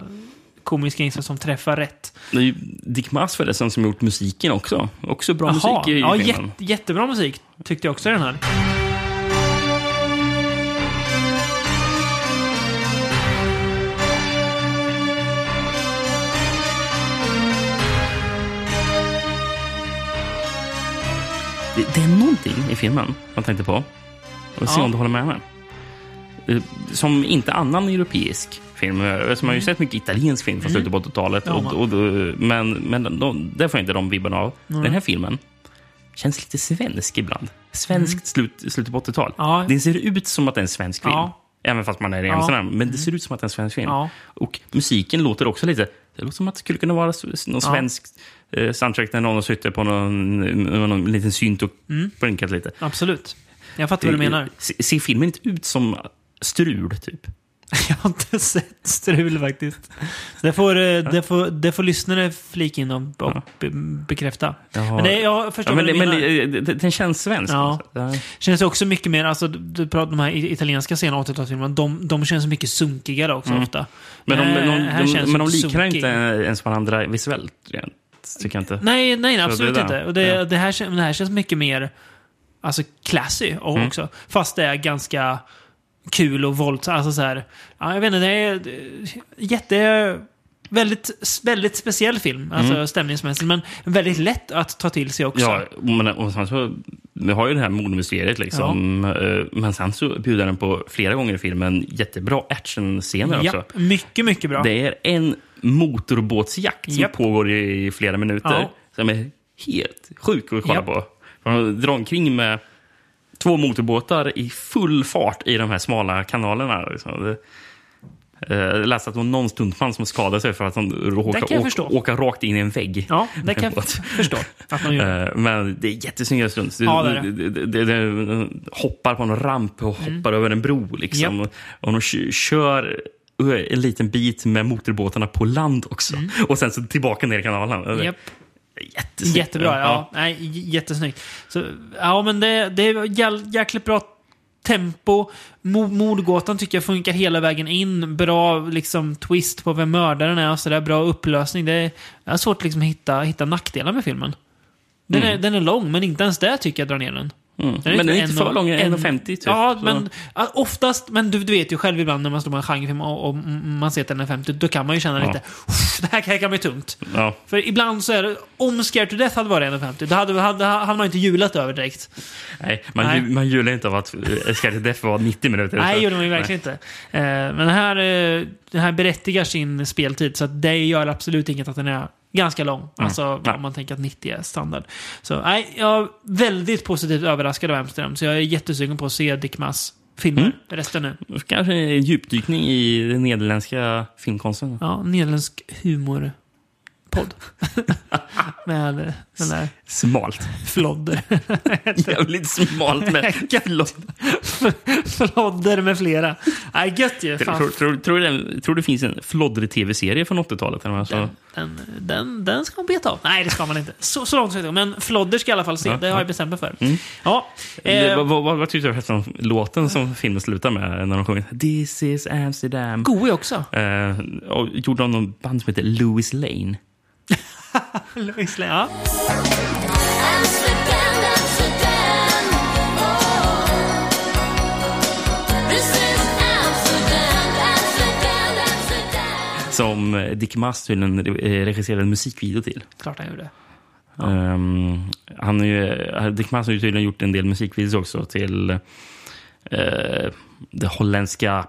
komiska inslag som träffar rätt.
Det är ju Dick Mass förresten som gjort musiken också. Också bra
Jaha,
musik i
ja,
filmen.
jätte, jättebra musik tyckte jag också i den här.
Det, det är någonting i filmen man tänkte på. Och se
Ja.
om du håller med mig. Eh, Som inte annan europeisk film gör. Eftersom Man har ju sett mycket italiensk film från
Mm.
slutet på 80-talet.
Ja,
och, och, men men de, där får jag inte de vibbarna av.
Mm.
Den här filmen känns lite svensk ibland. Svenskt slut, slutet på 80-talet.
Mm. Ja.
Den ser ut som att det är en svensk film.
Ja.
Även fast man är i
Ja. Mm.
Amsterdam. Men det ser ut som att det är en svensk film.
Ja.
Och musiken låter också lite... Det låter som att det skulle kunna vara s- s- någon
Ja.
svensk eh, soundtrack när någon har suttit på någon, någon liten synt och
Mm.
blinkat lite.
Absolut. Jag fattar vad du menar.
Se- Ser filmen inte ut som strul, typ?
Jag har inte sett strul faktiskt. Så Det får, eh, det får, det får lyssnare flika in och och be, bekräfta. Men det, jag förstår
ja, men,
vad du
men
menar.
det- det- det- Den känns svensk.
Ja.
alltså. Det här-
Känns också mycket mer, alltså du pratar om de här i- italienska sena 80-talsfilmerna, de, de känns mycket sunkigare också
Mm.
ofta.
Men de,
Eh,
de,
här
de,
känns
de, men de
sunkig.
liknar inte ens varandra visuellt, rent, tycker jag inte.
Nej, nej,
Så
absolut
det är
inte.
där.
Och det,
Ja.
det, här, kän- det här känns mycket mer alltså classy och
Mm.
också. Fast det är ganska kul och våldsamt. Alltså så här, ja, jag vet inte, det är eh, jätte... Väldigt, väldigt speciell film, alltså
Mm.
stämningsmässigt. Men väldigt lätt att ta till sig också.
Ja, men, och sen så, vi har ju det här mordmysteriet, liksom. Eh, men sen så bjuder den på flera gånger i filmen jättebra actionscener också.
Japp, mycket, mycket bra.
Det är en motorbåtsjakt som
Japp.
pågår i flera minuter
Ja.
som är helt sjuk att kolla
Japp.
på. De drar omkring med två motorbåtar i full fart i de här smala kanalerna. Liksom. Det- eh, Jag läste att det var någon stuntman som skadade sig för att han
kan
råkade
jag
åka,
förstå.
åka rakt in i en vägg.
Ja, det kan jag f- förstå att man gör.
Eh, Men det är jättesnygga stunts. Det,
Ja, det är
det, det, det, det hoppar på en ramp och hoppar
Mm.
över en bro. Liksom. Och de kö- kör ö, en liten bit med motorbåtarna på land också. Och sen så tillbaka ner i kanalen.
Mm. Japp.
Jättesnyggt.
Jättebra, ja. Nej, j- jättesnyggt. Så, ja, men det, det är jäl- jäkligt bra tempo. Mo- Mordgåtan tycker jag funkar hela vägen in. Bra liksom, twist på vem mördaren är och sådär. Bra upplösning. Det är, jag har svårt att liksom, hitta, hitta nackdelar med filmen. Den, är,
Mm.
den är lång, men inte ens där tycker jag drar ner den.
Mm. Men den är inte
en
för
och-
lång,
en-
1,50 typ.
Ja,
Så-
men ja, oftast, men du, du vet ju själv ibland när man står med en genrefilm och, och man ser att den är 50, då kan man ju känna
Ja. Mm.
lite, "Uff, det här kan- kan bli tungt.
Ja.
För ibland så är det, om Scared to Death hade varit 1,50, då hade, hade, hade man inte julat över direkt.
Nej, man,
Nej.
Ju, man jular inte av att eh, Scarlet Death var 90 minuter.
Nej,
Så-
det gjorde man ju verkligen inte. Eh, men den här, eh, den här berättigar sin speltid, så att det gör absolut inget att den är ganska lång. Alltså om man tänker att 90 är standard. Så nej, jag är väldigt positivt överraskad av Amsterdam, så jag är jättesugen på att se Dick Mass filmer
Mm.
resten nu.
Kanske en djupdykning i den nederländska filmkonsten.
Ja, nederländsk humorpodd. Med eh, den där
Smalt.
Flodder.
Jävligt smalt med
Flodder. Flodder med flera. Nej, gött ju.
Tror,
Fan.
tror, tror, det, tror det finns en floddrig tv-serie från 80-talet? eller vad jag sa?
Den, den, den ska man beta av. Nej, det ska man inte. Så, så långt ska jag gå. Men Flodder ska jag i alla fall se.
Ja,
det har
ja.
jag bestämt mig för.
Mm.
Ja,
Det-
eh,
vad, vad, vad, vad tyckte du förresten om låten som filmen slutar med när de sjunger This is Amsterdam?
Goe också.
Eh, och gjorde de någon band som heter Louis Lane?
Louis Lane, ja.
Som eh, Dick Mass tydligen eh, regisserade en musikvideo till.
Klart han gjorde.
Ehm, han är ju, eh, Dick Mass har ju tydligen gjort en del musikvideos också till eh, det holländska,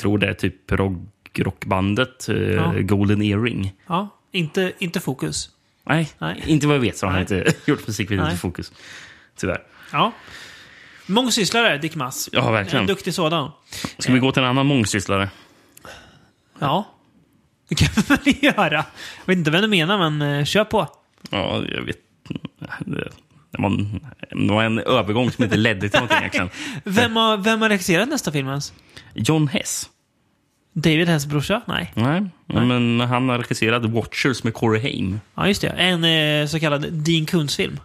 tror det är typ rock, rockbandet eh,
Ja.
Golden Earring.
Ja, inte, inte fokus.
Nej,
Nej.
inte vad jag vet så har han
Nej.
inte gjort musikvideor
Nej.
till Fokus. Tyvärr.
Ja. Mångsysslare, Dick Mass.
Ja, verkligen.
En duktig sådan.
Ska vi gå till en annan mångsysslare?
Ja. Det kan vi väl göra. Jag vet inte vad du menar, men eh, kör på.
Ja, jag vet. Det var en, det var en övergång som inte ledde till någonting egentligen.
Vem har, vem har regisserat nästa film ens?
John Hess.
David Hess brorsa? Nej.
Nej, men han har regisserat Watchers med Corey Haim.
Ja, just det. En eh, så kallad Dean Kuntz-film.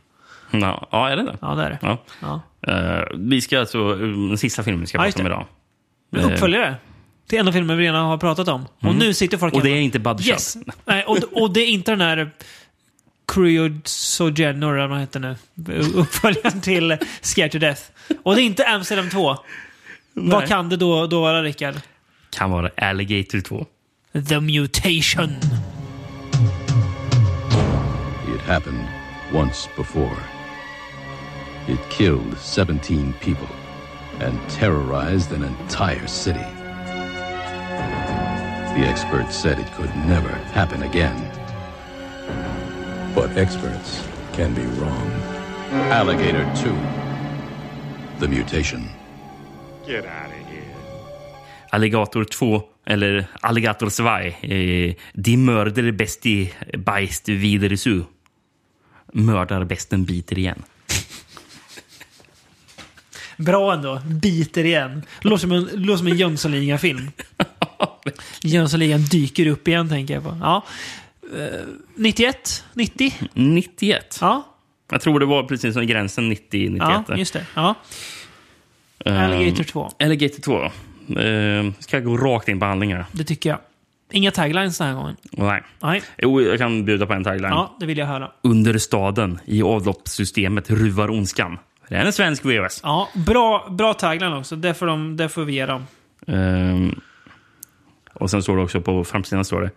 Ja, ja, är det det?
Ja, det är det.
Ja.
Ja.
Eh, vi ska alltså, um, den sista filmen vi ska
Ja, just
prata om
det.
idag.
Men Uppföljare. Till en av filmerna vi redan har pratat om. Och
Mm.
nu sitter folk
Och det
hemma.
är inte Budshot.
Yes. Nej, och, och det är inte den här Cryogeno, eller vad den heter nu. Uppföljaren till Scared to Death. Och det är inte Amsterdam 2. Vad kan det då, då vara, Rickard?
Kan vara Alligator 2.
The Mutation.
It happened once before. It killed 17 people and terrorized an entire city. The experts said it could never happen again. But experts can be wrong. Alligator 2 The Mutation.
Get out of here.
Alligator 2, eller Alligator 2. Eh, de mörder bäst i bajst vidare su. Mördar bästen biter igen.
Bra ändå. Biter igen. Låter som en, låter som en Jönssonligan-film. Jönssonligan dyker upp igen, tänker jag på. Ja. Eh, 91? 90?
91?
Ja.
Jag tror det var precis som gränsen 90-91.
Ja, just det. Ja.
Eh,
Alligator 2.
Alligator 2. Eh, ska jag gå rakt in på handlingar?
Det tycker jag. Inga taglines den här gången.
Nej.
Nej.
Jo, jag kan bjuda på en tagline.
Ja, det vill jag höra.
Under staden i avloppssystemet ruvar ondskan. Det är en svensk VHS.
Ja, bra, bra tagline också. Det får, de, det får vi ge dem.
Ehm, och sen står det också på framsidan står det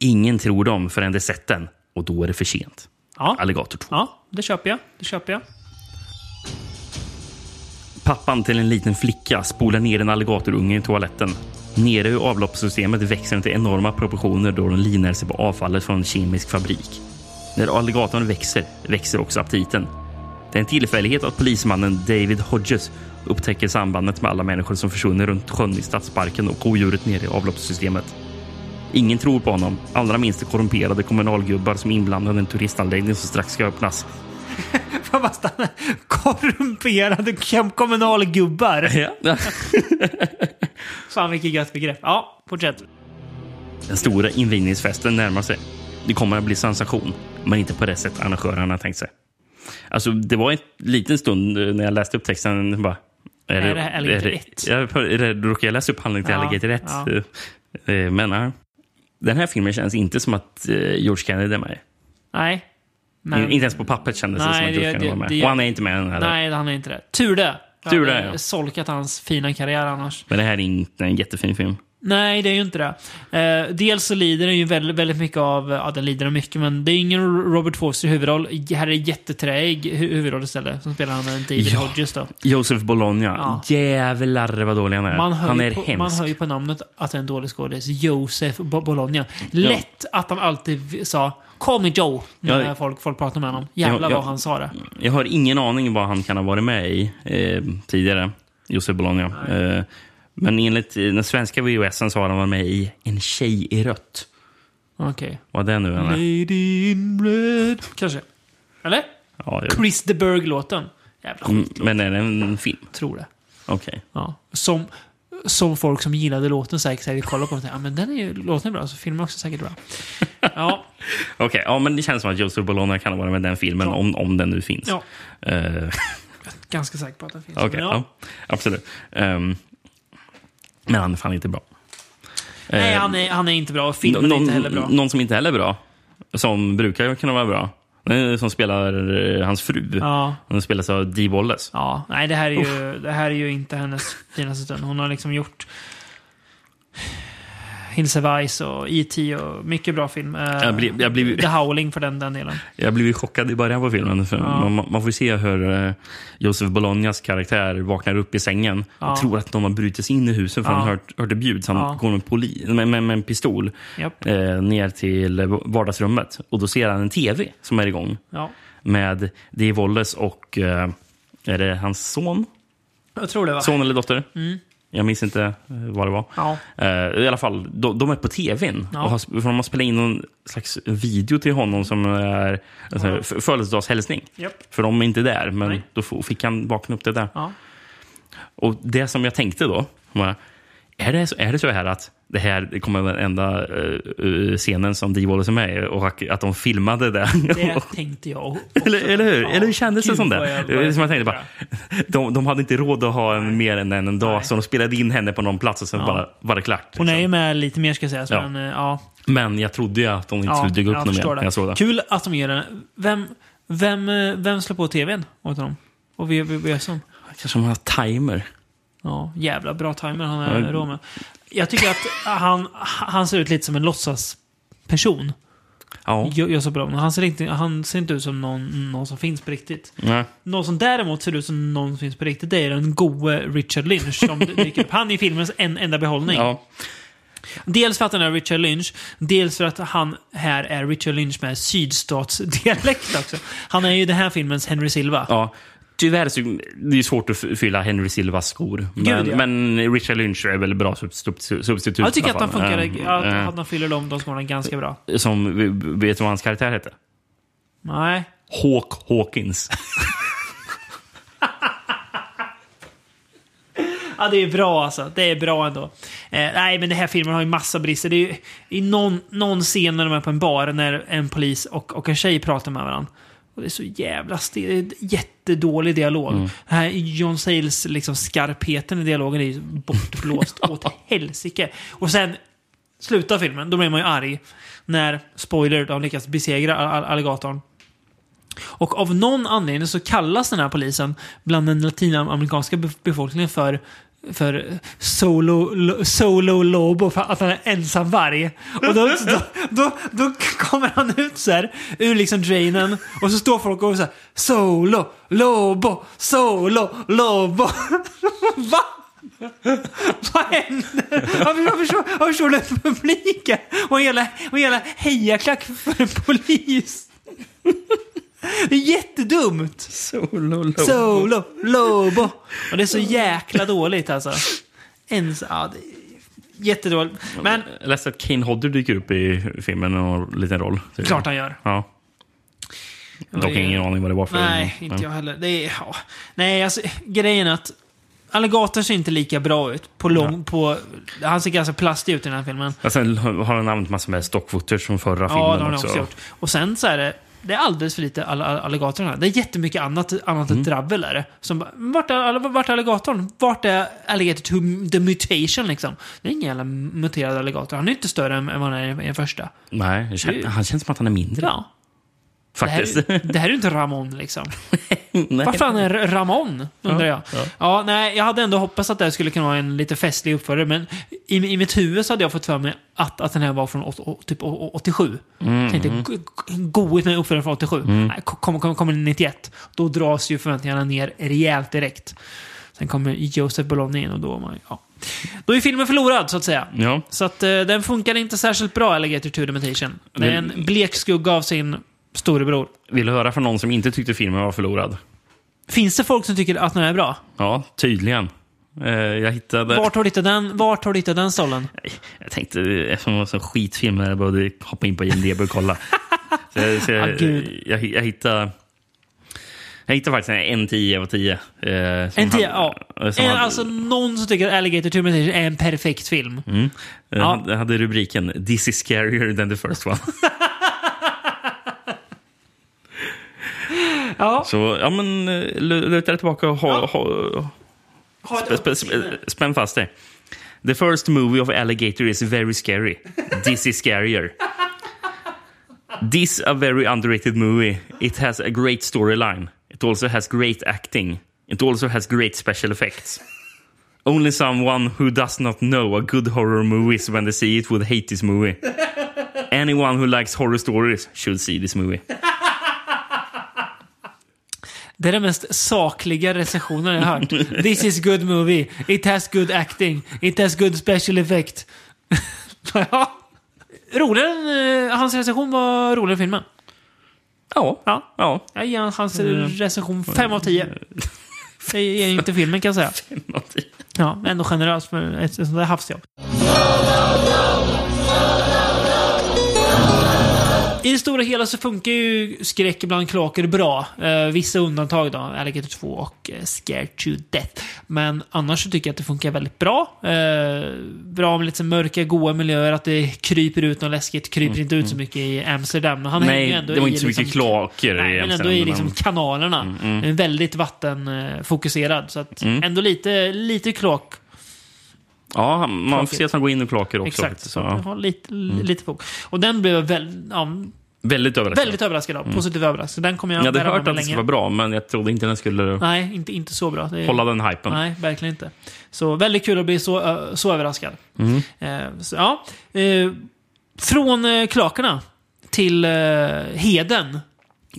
Ingen tror dem förrän de sett den och då är det för sent.
Ja.
Alligator 2.
Ja, det köper jag. Det köper jag.
Pappan till en liten flicka spolar ner en alligatorunge i toaletten. Nere i avloppssystemet växer den till enorma proportioner då den linar sig på avfallet från en kemisk fabrik. När alligatorn växer, växer också aptiten. Det är en tillfällighet att polismannen David Hodges upptäcker sambandet med alla människor som försvunnit runt sjön i stadsparken och odjuret nere i avloppssystemet. Ingen tror på honom, allra minst de korrumperade kommunalgubbar som är inblandade i en turistanläggning som strax ska öppnas.
Får bara stanna. Korrumperade kom- kommunalgubbar. Fan vilket gött begrepp. Ja, fortsätt.
Den stora invigningsfesten närmar sig. Det kommer att bli sensation, men inte på det sätt arrangörerna tänkt sig. Alltså, det var en liten stund eh, när jag läste upp texten. Bara,
Är det här Alligator ett?
Ja, är det- Då råkade jag läsa upp handlingen till
Ja,
Alligator 1.
ja.
Eh, eh, Men ja. den här filmen känns inte som att eh, George Kennedy är med.
Nej.
In- Inte ens på pappret kändes det
Nej,
som att
det-
George Kennedy
det-
var med.
det-
Och han är inte med än heller.
Nej, han är inte det. Tur det. Jag
Tur det,
hade
ja.
solkat hans fina karriär annars.
Men det här är inte en jättefin film.
Nej, det är ju inte det. Eh, dels så lider den ju väldigt, väldigt mycket av, ja den lider av mycket, men det är ingen Robert Foster i huvudroll. Här är jätteträig hu- huvudroll istället, som spelar han en David
Ja.
Hodges då.
Josef Bologna.
Ja.
Jävlar vad dålig han är.
Man hör,
han
ju
är
på, man
hemsk.
hör ju på namnet att det är en dålig skådis. Josef Bo- Bologna. Lätt att han alltid v- sa Call me Joe när
Ja.
folk, folk pratar med honom. Jävlar
Ja, ja.
vad han sa det.
Jag har ingen aning vad han kan ha varit med i eh, tidigare, Josef Bologna. Eh, men enligt eh, den svenska VHSen så har han varit med i En tjej i rött.
Okej.
Vad är det nu än är.
Lady in red. Kanske. Eller?
Ja, jag-
Chris de Burgh-låten. Jävla skit.
Typ. Mm, Men är det en film?
Tror det.
Okej.
Ja. Som, som folk som gillade låten säkert, säkert kollar på den och tänker, ja men den är ju, låten är bra, så filmen är också säkert bra. Ja,
Okej, ja, men det känns som att Josef Bologna kan ha varit med i den filmen, om, om den nu finns.
Ja.
Eh,
ganska säker på att den finns.
Okej,
Men
ja. absolut. Ehm, men han är fan inte bra.
Nej,
Eh,
han är, han är inte bra. Filmen är
någon,
inte heller bra.
Någon som inte heller är bra, som brukar kunna vara bra, det är som spelar eh, hans fru.
Ja.
Hon spelas av Dee Wallace.
Ja, nej, det här, är ju, det här är ju inte hennes finaste stund. Hon har liksom gjort Hilse Weiss och E.T. och mycket bra film. Eh,
Jag blev- jag blev-
The Howling för den, den delen.
Jag blev ju chockad i början på filmen. För
Ja.
man, man får ju se hur eh, Josef Bolognas karaktär vaknar upp i sängen
Ja.
och tror att de har brutit sig in i huset för
Ja.
han har hört, hört ett ljud. Så han
Ja.
går med, poli, med, med, med en pistol
Japp.
eh, ner till vardagsrummet. Och då ser han en tv som är igång
Ja.
med Dee Wallace och eh, är det hans son?
Jag tror det var.
Son eller dotter?
Mm.
Jag minns inte eh, vad det var.
Ja.
Eh, I alla fall, de, de är på tvn.
Ja.
Och har, sp- för de har spelat in någon slags video till honom som är alltså, f- födelsedagshälsning.
Japp.
För de är inte där, men då f- fick han vakna upp det där.
Ja.
Och det som jag tänkte då var, är det, så- är det så här att det här det kommer vara den enda eh, eh, scenen som Dee Wallace är med i och att- att de filmade det?
Det tänkte jag också.
Eller, eller hur?
Ja.
eller hur kändes det
Gud,
som det?
vad jag- vad
det är
jag
som jag tänkte bara, de, de hade inte råd att ha en, mer än en dag, så de spelade in henne på någon plats och sen
Ja.
bara var det klart.
Hon är ju med lite mer ska jag säga. så
Liksom. Ja.
Men, eh, ja.
Men jag trodde ju att de inte
Ja,
skulle dyka upp
jag
någon mer.
förstår
när Jag såg det.
Kul att de gör den. Vem, vem, eh, vem slår på tvn åt honom? Och VVVS'n?
Kanske de har timer.
Ja, jävla bra timer han är
Ja.
rå med. Jag tycker att han, han ser ut lite som en låtsasperson.
Ja.
Jag, jag så bra. Men Han ser, inte, han ser inte ut som någon, någon som finns på riktigt.
Nej.
Någon som däremot ser ut som någon som finns på riktigt, det är den gode Richard Lynch som dyker upp. Han är filmens en, enda behållning.
Ja.
Dels för att han är Richard Lynch, dels för att han här är Richard Lynch med sydstatsdialekt också. Han är ju den här filmens Henry Silva.
Ja. Tyvärr så det är ju svårt att f- fylla Henry Silvas skor. Men,
ja.
men Richard Lynch är väl bra sub- sub- substitut.
Jag tycker
i
att
alla
han
fall.
funkar,
Eh,
att,
eh,
att han fyller de, de skorna ganska bra.
Som, vet du vad hans karaktär hette?
Nej.
Hawk Hawkins.
Ja, det är bra alltså. Det är bra ändå. Eh, nej, men den här filmen har ju massa brister. Det är ju i någon, någon scen när de är på en bar när en polis och, och en tjej pratar med varandra. Och det är så jävla stel. Jättedålig dialog.
Mm.
Den här John Sayles liksom skarpheten i dialogen är ju bortblåst åt helsike. Och sen slutar filmen, då blir man ju arg. När, spoiler, de lyckas besegra all- all- alligatorn. Och av någon anledning så kallas den här polisen bland den latinamerikanska be- befolkningen för för solo, lo, solo lobo, för att han är ensam varg. Och då, då, då, då kommer han ut så här ur liksom drainen och så står folk och så här solo lobo, solo lobo. Va? Vad händer? Varför, varför, står- varför står det publiken? Och hela, och hela hejaklack för en polis. Det är jättedumt!
Solo Lobo.
Solo Lobo. Och det är så jäkla dåligt alltså. Ens, ja, det är jättedåligt. Men
Jag läste att Kane Hodder dyker upp i filmen och har en liten roll. tydligen.
Klart han gör.
Ja. Dock
det-
ingen aning vad det var för
Nej, inte jag heller. Det är, ja. Nej, alltså grejen är att Alligator ser inte lika bra ut. På lång, på, han ser ganska plastig ut i den här filmen.
Och sen har han använt massor med stockfotage från förra
Ja, det har
filmen
han
också.
också gjort. Och sen så är det, det är alldeles för lite all, all, alligator här. Det är jättemycket annat, annat
Mm.
drabbel där. Som bara, vart är, all- vart är alligatorn? Vart är alligator to the mutation liksom? Det är ingen jävla muterad alligator. Han är inte större än, än vad han är i den första.
Nej, det kän- han känns som att han är mindre.
Ja.
Faktiskt.
Det här, är- det här är ju inte Ramon liksom.
Nej.
Vad fan är Ramon? Undrar
Ja,
jag.
ja.
Ja. nej, jag hade ändå hoppats att det här skulle kunna vara en lite festlig uppförare, men i, i mitt huvud så hade jag fått för mig att, att den här var från åt, å, typ å- å- 87.
Mm.
Tänkte, go- goigt med en uppförare från 87.
Mm.
Nej, kom- kommer kom, kom 91. Då dras ju förväntningarna ner rejält direkt. Sen kommer Joseph Bologna in och då, är man, ja. då är filmen förlorad så att säga.
Ja.
Så att eh, den funkar inte särskilt bra, Alligator 2 Dimension. Det är en blek skugga av sin storebror.
Vill du höra från någon som inte tyckte filmen var förlorad?
Finns det folk som tycker att den är bra?
Ja, tydligen. Eh, jag hittade...
Vart har du hittat den, vart har du hittat den stollen?
Jag tänkte, eh, eftersom det var en sån skitfilm, jag behövde hoppa in på IMDB och kolla. så jag, så
Ah,
jag,
gud.
jag, jag hittade... Jag hittade faktiskt en 10 av 10. eh, som
En tia,
han-
ja.
eh, som
En,
han-
alltså någon som tycker att Alligator Tumentation är en perfekt film.
Mm. Eh,
Ja.
han- han hade rubriken “This is scarier than the first one”.
Ja.
Så ja, men eh, lu- luta dig tillbaka och ha, ha,
Ha ett
sp- sp- sp- spänn fast dig. The first movie of Alligator is very scary. This is scarier. This a very underrated movie. It has a great storyline. It also has great acting. It also has great special effects. Only someone who does not know a good horror movies when they see it would hate this movie. Anyone who likes horror stories should see this movie.
Det är den mest sakliga recensionen jag har hört. This is good movie. It has good acting. It has good special effect. ja. Roligare än, eh, hans recension var roligare än filmen.
Ja.
ja.
ja.
Jag ger hans
Mm.
recension 5 av 10. Det ger inte filmen kan jag säga. Ja, men ändå generöst för ett sånt där havsjobb. I det stora hela så funkar ju skräck bland kloaker bra. Eh, vissa undantag då, Alligator 2 och eh, Scared to Death. Men annars så tycker jag att det funkar väldigt bra. Eh, bra med lite så mörka, goa miljöer, att det kryper ut något läskigt. Kryper inte ut så mycket i Amsterdam. Men han hänger ju
Mm, Nej,
ändå
det var
i
inte så mycket
liksom,
kloaker
Nej, men ändå
Amsterdam,
i liksom kanalerna.
mm.
Den är Väldigt vattenfokuserad. Så att
Mm.
ändå lite, lite kloak.
Ja, han- man får
Kloaker.
se att han går in i kloaker också.
Exakt.
faktiskt.
Så
ja.
jag har lite,
Mm.
lite fokus. Och den blev jag väl, ja,
Väldigt överraskad.
väldigt överraskad av.
Mm.
Positiv överraskad. Den kommer
Jag
jag
hade
bära med
hört
mig
att det skulle
länge.
vara bra, men jag trodde inte den skulle...
Nej, inte, inte så bra. Det är-
Hålla den hypen.
Nej, verkligen inte. Så väldigt kul att bli så, ö, så överraskad.
Mm.
Eh, så, ja. eh, från eh, klakarna till eh, heden.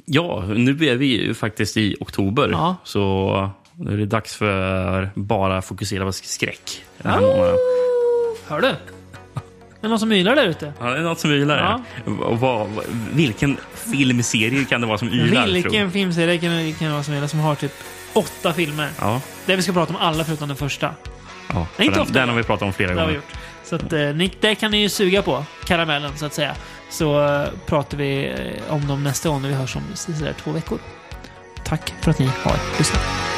Ja, nu är vi ju faktiskt i oktober.
Ja.
Så nu är det dags för bara fokusera på skräck. Den
Ah.
här månaden.
Hör du? Är det någon som ylar där ute?
Ja, det är något som ylar här. Och vad, vad- vilken filmserie kan det vara som ylar? tror
Vilken
jag?
filmserie kan det kan det vara som gillar som har typ åtta filmer?
Ja.
Där vi ska prata om alla förutom den första.
ja
Nej, inte
för den,
ofta.
den har vi pratat om flera
Det har vi
gånger.
gjort. Så att, eh, ni, det kan ni ju suga på, karamellen så att säga. Så eh, pratar vi eh, om dem nästa gång när vi hörs om sådär två veckor. Tack för att ni har lyssnat.